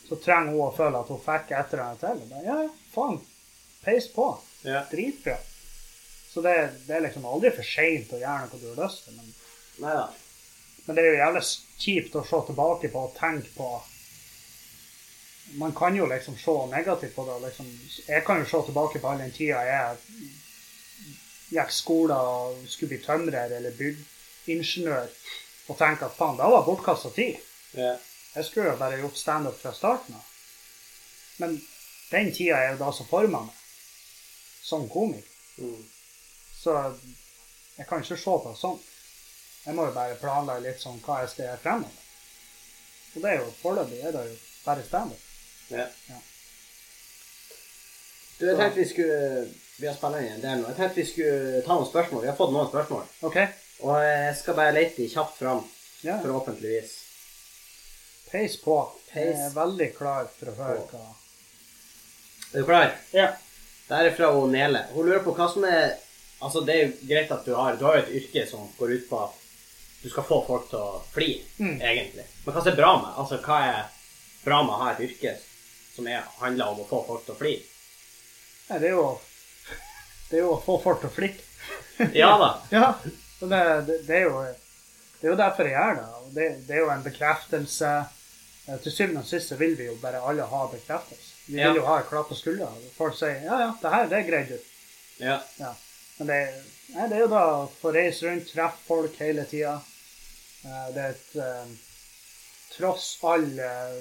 S2: så trenger hun å føle at hun fikk et eller annet til. Men ja, ja, faen. Peis på.
S1: Ja.
S2: Dritbra. Så det, det er liksom aldri for seint å gjøre noe du har lyst til. Men,
S1: Nei da.
S2: men det er jo jævlig kjipt å se tilbake på og tenke på Man kan jo liksom se negativt på det. og Liksom, jeg kan jo se tilbake på all den tida jeg gikk skolen og skulle bli tømrer eller byggingeniør, og tenke at faen, det var bortkasta tid.
S1: Ja.
S2: Jeg skulle jo bare gjort standup fra starten av. Men den tida er jo da som forma meg som komiker.
S1: Mm.
S2: Så jeg kan ikke se på det sånn. Jeg må jo bare planlegge litt sånn hva jeg skal gjøre fremover. Og det er jo foreløpig er det jo bare standup.
S1: Ja.
S2: Ja.
S1: Du, jeg tenkte vi skulle Vi har spilt inn en del nå. Jeg tenkte vi skulle ta noen spørsmål. Vi har fått noen spørsmål.
S2: OK?
S1: Og jeg skal bare lete de kjapt fram.
S2: Ja.
S1: Forhåpentligvis.
S2: Peis på. Jeg
S1: Peis
S2: er veldig klar for å høre
S1: på.
S2: hva
S1: Er du klar?
S2: Ja.
S1: Det er fra hun Nele. Hun lurer på hva som er Altså, det er jo greit at du har Du har jo et yrke som går ut på at du skal få folk til å flire,
S2: Mm.
S1: egentlig. Men hva som er bra med Altså, hva er bra med å ha et yrke som er, handler om å få folk til å flire?
S2: Nei, det er jo Det er jo å få folk til å flikke.
S1: Ja da.
S2: Ja, og det, det, det, er jo, det er jo derfor jeg gjør det. Og det, det er jo en bekreftelse. Eh, Til syvende og sist så vil vi jo bare alle ha bekreftelse. Vi
S1: Ja.
S2: vil jo ha et klapp på skuldra. og Folk sier 'ja, ja, det her, det greide du'.
S1: Ja.
S2: Ja. Men det, nei, det er jo da å få reise rundt, treffe folk hele tida. Eh, Det er et eh, Tross all eh,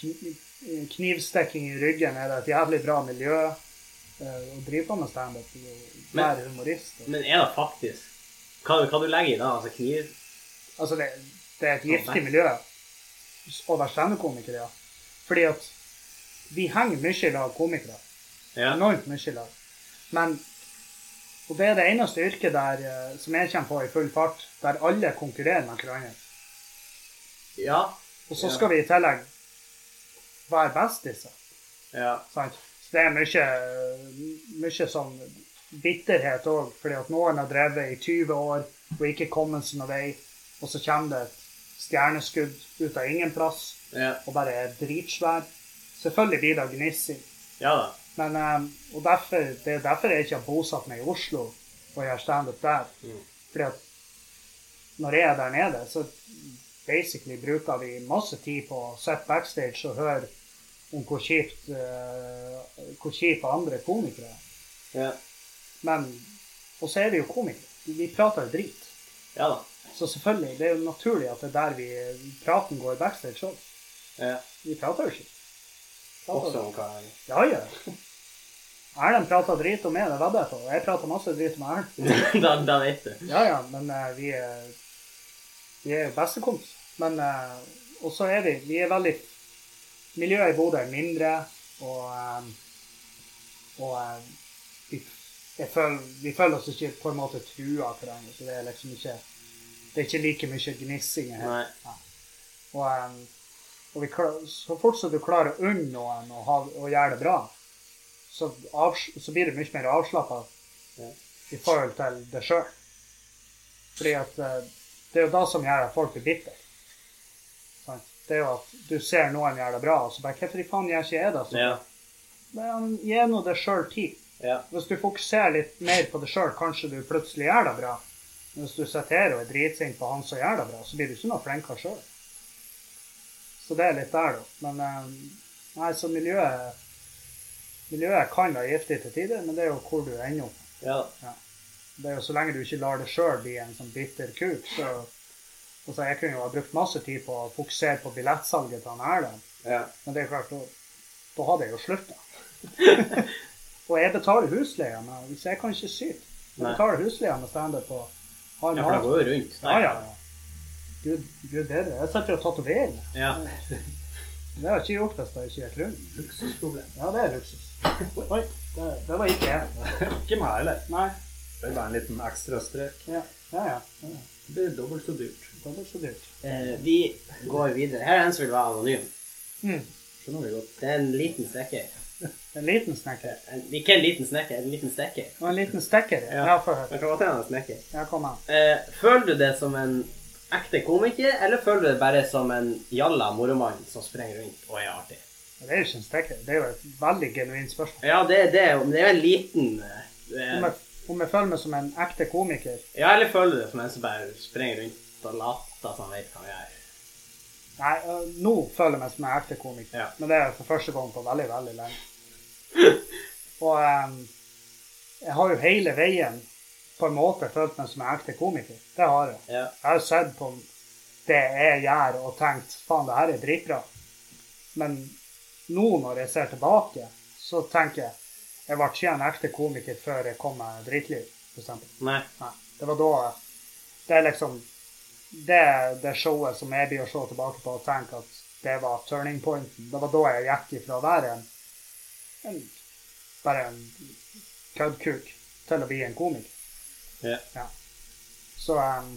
S2: kni- knivstikking i ryggen er det et jævlig bra miljø eh, å drive på med standup. og
S1: Men-
S2: Være humorist. Og,
S1: Men er det faktisk Hva, hva du legger i det? Altså kniv?
S2: Altså, det, det er et giftig
S1: nei.
S2: miljø å være standup-komiker, ja. Fordi at vi henger mye i lag komikere.
S1: Ja.
S2: Enormt mye i lag. Men Og det er det eneste yrket der, eh, som jeg kommer på i full fart, der alle konkurrerer med hverandre.
S1: Ja.
S2: Og så
S1: Ja.
S2: skal vi i tillegg være best i seg.
S1: ja.
S2: Sant? Så det er mye, mye sånn bitterhet òg, fordi at noen har drevet i 20 år og ikke kommet seg noen vei, og så kommer det et stjerneskudd ut av ingen plass
S1: Ja,
S2: og bare er dritsvær. Selvfølgelig blir det gnissing.
S1: ja da.
S2: Men, eh, og derfor, det er derfor jeg ikke har bosatt meg i Oslo og gjør standup der.
S1: Mm.
S2: Fordi at når jeg er der nede, så basically bruker vi masse tid på å sitte backstage og høre om hvor kjipt eh, hvor kjipe andre komikere er.
S1: Ja,
S2: Men Og så er vi jo komikere. Vi prater jo drit.
S1: ja da.
S2: Så selvfølgelig, det er jo naturlig at det er der vi praten går backstage òg.
S1: Ja.
S2: Vi prater jo ikke.
S1: Også om hva
S2: Ja, ja. Erlend prater drit om meg, det vedder jeg på. Og jeg prater masse drit om Erlend.
S1: da, da vet du.
S2: Ja, ja, men eh, vi er vi er jo bestekompiser. Men eh, Og så er vi Vi er veldig Miljøet i Bodø er mindre, og eh, Og eh, vi, jeg føler, vi føler oss ikke på en måte trua av hverandre, så det er liksom ikke Det er ikke like mye gnissing her.
S1: Nei.
S2: Og, em, og vi klar, så fort som du klarer å unne noen å, ha, å gjøre det bra, så, avs, så blir du mye mer avslappa
S1: Ja.
S2: i forhold til deg sjøl. Fordi at eh, det er jo det som gjør at folk blir bitre. Sant? Det er jo at du ser noen gjøre det bra, og så bare 'Hvorfor i faen gjør ikke jeg det?' Så,
S1: Ja.
S2: Men gi nå deg sjøl tid.
S1: Ja.
S2: Hvis du fokuserer litt mer på deg sjøl, kanskje du plutselig gjør det bra. Men hvis du sitter her og er dritsint på han som gjør det bra, så blir du ikke noe flinkere sjøl. Så det er litt der, da. Men eh, nei, så miljøet Miljøet kan være giftig til tider, men det er jo hvor du ender opp.
S1: Ja da.
S2: Ja. Det er jo så lenge du ikke lar det sjøl bli en sånn bitter kuk, så altså, Jeg kunne jo ha brukt masse tid på å fokusere på billettsalget til han Erlend,
S3: Ja.
S2: men det er klart, da, da hadde jeg jo slutta. og jeg betaler husleia, men- så jeg kan ikke syte. Jeg
S1: Nei.
S2: betaler husleia med standup på han
S1: Ja, for det går jo rundt.
S2: Ja, ja, ja. Gud, gud bedre. Jeg setter jo tatovering.
S1: Ja.
S2: Det har jeg ikke gjort hvis det ikke gikk rundt.
S3: Luksusproblem.
S2: Ja, det er luksus. Oi, det, det var ikke jeg.
S3: Ikke meg heller.
S2: Nei.
S3: Det er bare en liten ekstra strek.
S2: Ja, ja. ja. ja.
S3: Det blir dobbelt så dyrt.
S2: Det var så dyrt.
S1: Eh, vi går videre. Her er en som vil være anonym.
S2: Mm.
S3: Skjønner vi godt.
S1: Det er en liten snekker.
S2: En liten snekker.
S1: En, ikke en liten snekker, en liten snekker.
S2: Og en liten stekker.
S1: Ja.
S2: Ja, få høre.
S1: Jeg kan godt hende en snekker.
S2: Ja, kom an.
S1: Eh, føler du det som en ekte komiker, eller føler du det bare som en jalla moromann som springer rundt og er artig?
S2: Det er jo ikke en stekker. Det er jo et veldig genuint spørsmål.
S1: Ja, det, det, er jo- det er jo en liten eh,
S2: Om
S1: eh,
S2: jeg, om jeg føler meg som en ekte komiker
S1: Ja, eller føler du det som en som bare springer rundt og later som han vet hva han gjør?
S2: Nei, øh, nå føler jeg meg som en ekte komiker.
S1: Ja.
S2: Men det er for første gang på veldig, veldig lenge. Og ehm, jeg har jo hele veien på en måte følt meg som en ekte komiker. Det har jeg.
S1: Ja.
S2: Jeg har sett på det jeg gjør og tenkt faen, det her er dritbra. Men nå når jeg ser tilbake, så tenker jeg jeg ble ikke en ekte komiker før jeg kom med Dritliv, for eksempel.
S1: Nei.
S2: Nei, det var da Det er liksom det, det showet som jeg blir å se tilbake på og tenke at det var turning pointen. Det var da jeg gikk ifra å være en, en bare en køddkuk til å bli en komiker.
S1: Ja.
S2: Så em,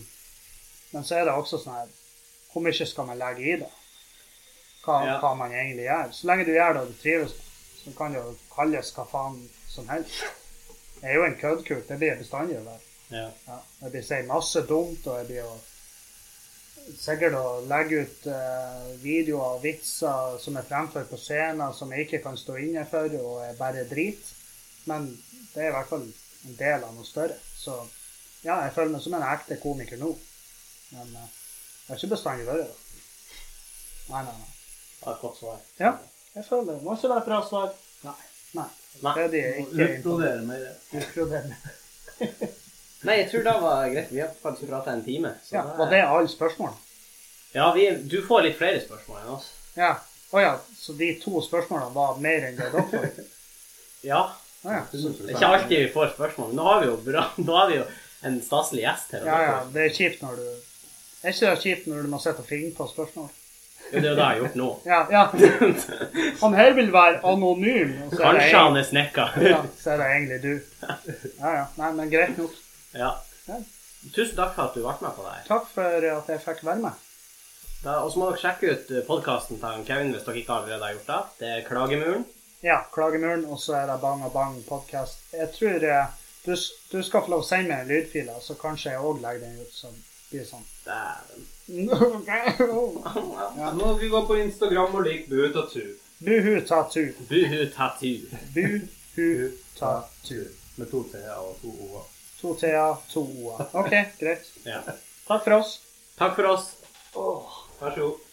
S2: Men så er det også sånn her Hvor mye skal man legge i det? Hva,
S1: Ja.
S2: hva man egentlig gjør. Så lenge du gjør det og du trives, så kan det jo kalles hva faen som helst. Jeg er jo en køddkuk. Det blir jeg bestandig å være.
S1: Ja.
S2: Ja, jeg blir si masse dumt, og jeg blir jo sikkert å legge ut eh, videoer og vitser som er fremført på scenen, som jeg ikke kan stå inne for, og er bare drit. Men det er i hvert fall en del av noe større. Så ja, jeg føler meg som en ekte komiker nå. Men eh, jeg har ikke bestandig vært det. Nei, nei, nei.
S1: Det var et godt svar.
S2: Ja, jeg føler det. Må ikke være et bra svar. Nei. Nei.
S1: Nei.
S2: Det er de jeg
S3: Må
S2: ikke
S3: Utbrodere mer.
S2: inkluderer.
S1: Nei, jeg tror det var greit. Vi har faktisk prata en time. så
S2: Ja, var det alle spørsmål?
S1: Ja, vi, du får litt flere spørsmål enn oss.
S2: Ja. Å ja, så de to spørsmålene var mer enn det dere får?
S1: Ja.
S2: Å ja.
S1: Det er ikke alltid vi får spørsmål, men nå har vi jo, bra, nå har vi jo en staselig gjest her. og
S2: ja ja,
S1: det-
S2: det er kjipt når du Er ikke det kjipt når du må sitte og finne på spørsmål?
S1: Jo, det er jo det jeg har gjort nå.
S2: Ja, ja. Han her vil være anonym. og så er det
S1: Kanskje han er snekka.
S2: egentlig- Ja, så er det egentlig du. Ja ja. Nei, men greit nok.
S1: Ja.
S2: Ja.
S1: Tusen takk for at du ble med på det her.
S2: Takk for at jeg fikk være med.
S1: Da- Og så må dere sjekke ut podkasten til han Kevin hvis dere ikke allerede har gjort det. Det er Klagemuren.
S2: Ja, Klagemuren, og så er det Bang og Bang podkast. Jeg tror eh, du, s- du skal få lov å sende meg en lydfil, så kanskje jeg òg legger den ut som blir sånn.
S1: Dæven.
S2: Ja.
S3: Nå skal vi gå på Instagram og like Buetatu.
S2: Buhu tatu.
S1: Buhu tattoo.
S2: Buhu tatu.
S3: Med to t-er og to o-er.
S2: To t-er, to o-er. OK, greit.
S1: Ja.
S2: Takk for oss.
S1: Takk for oss.
S3: Vær så god.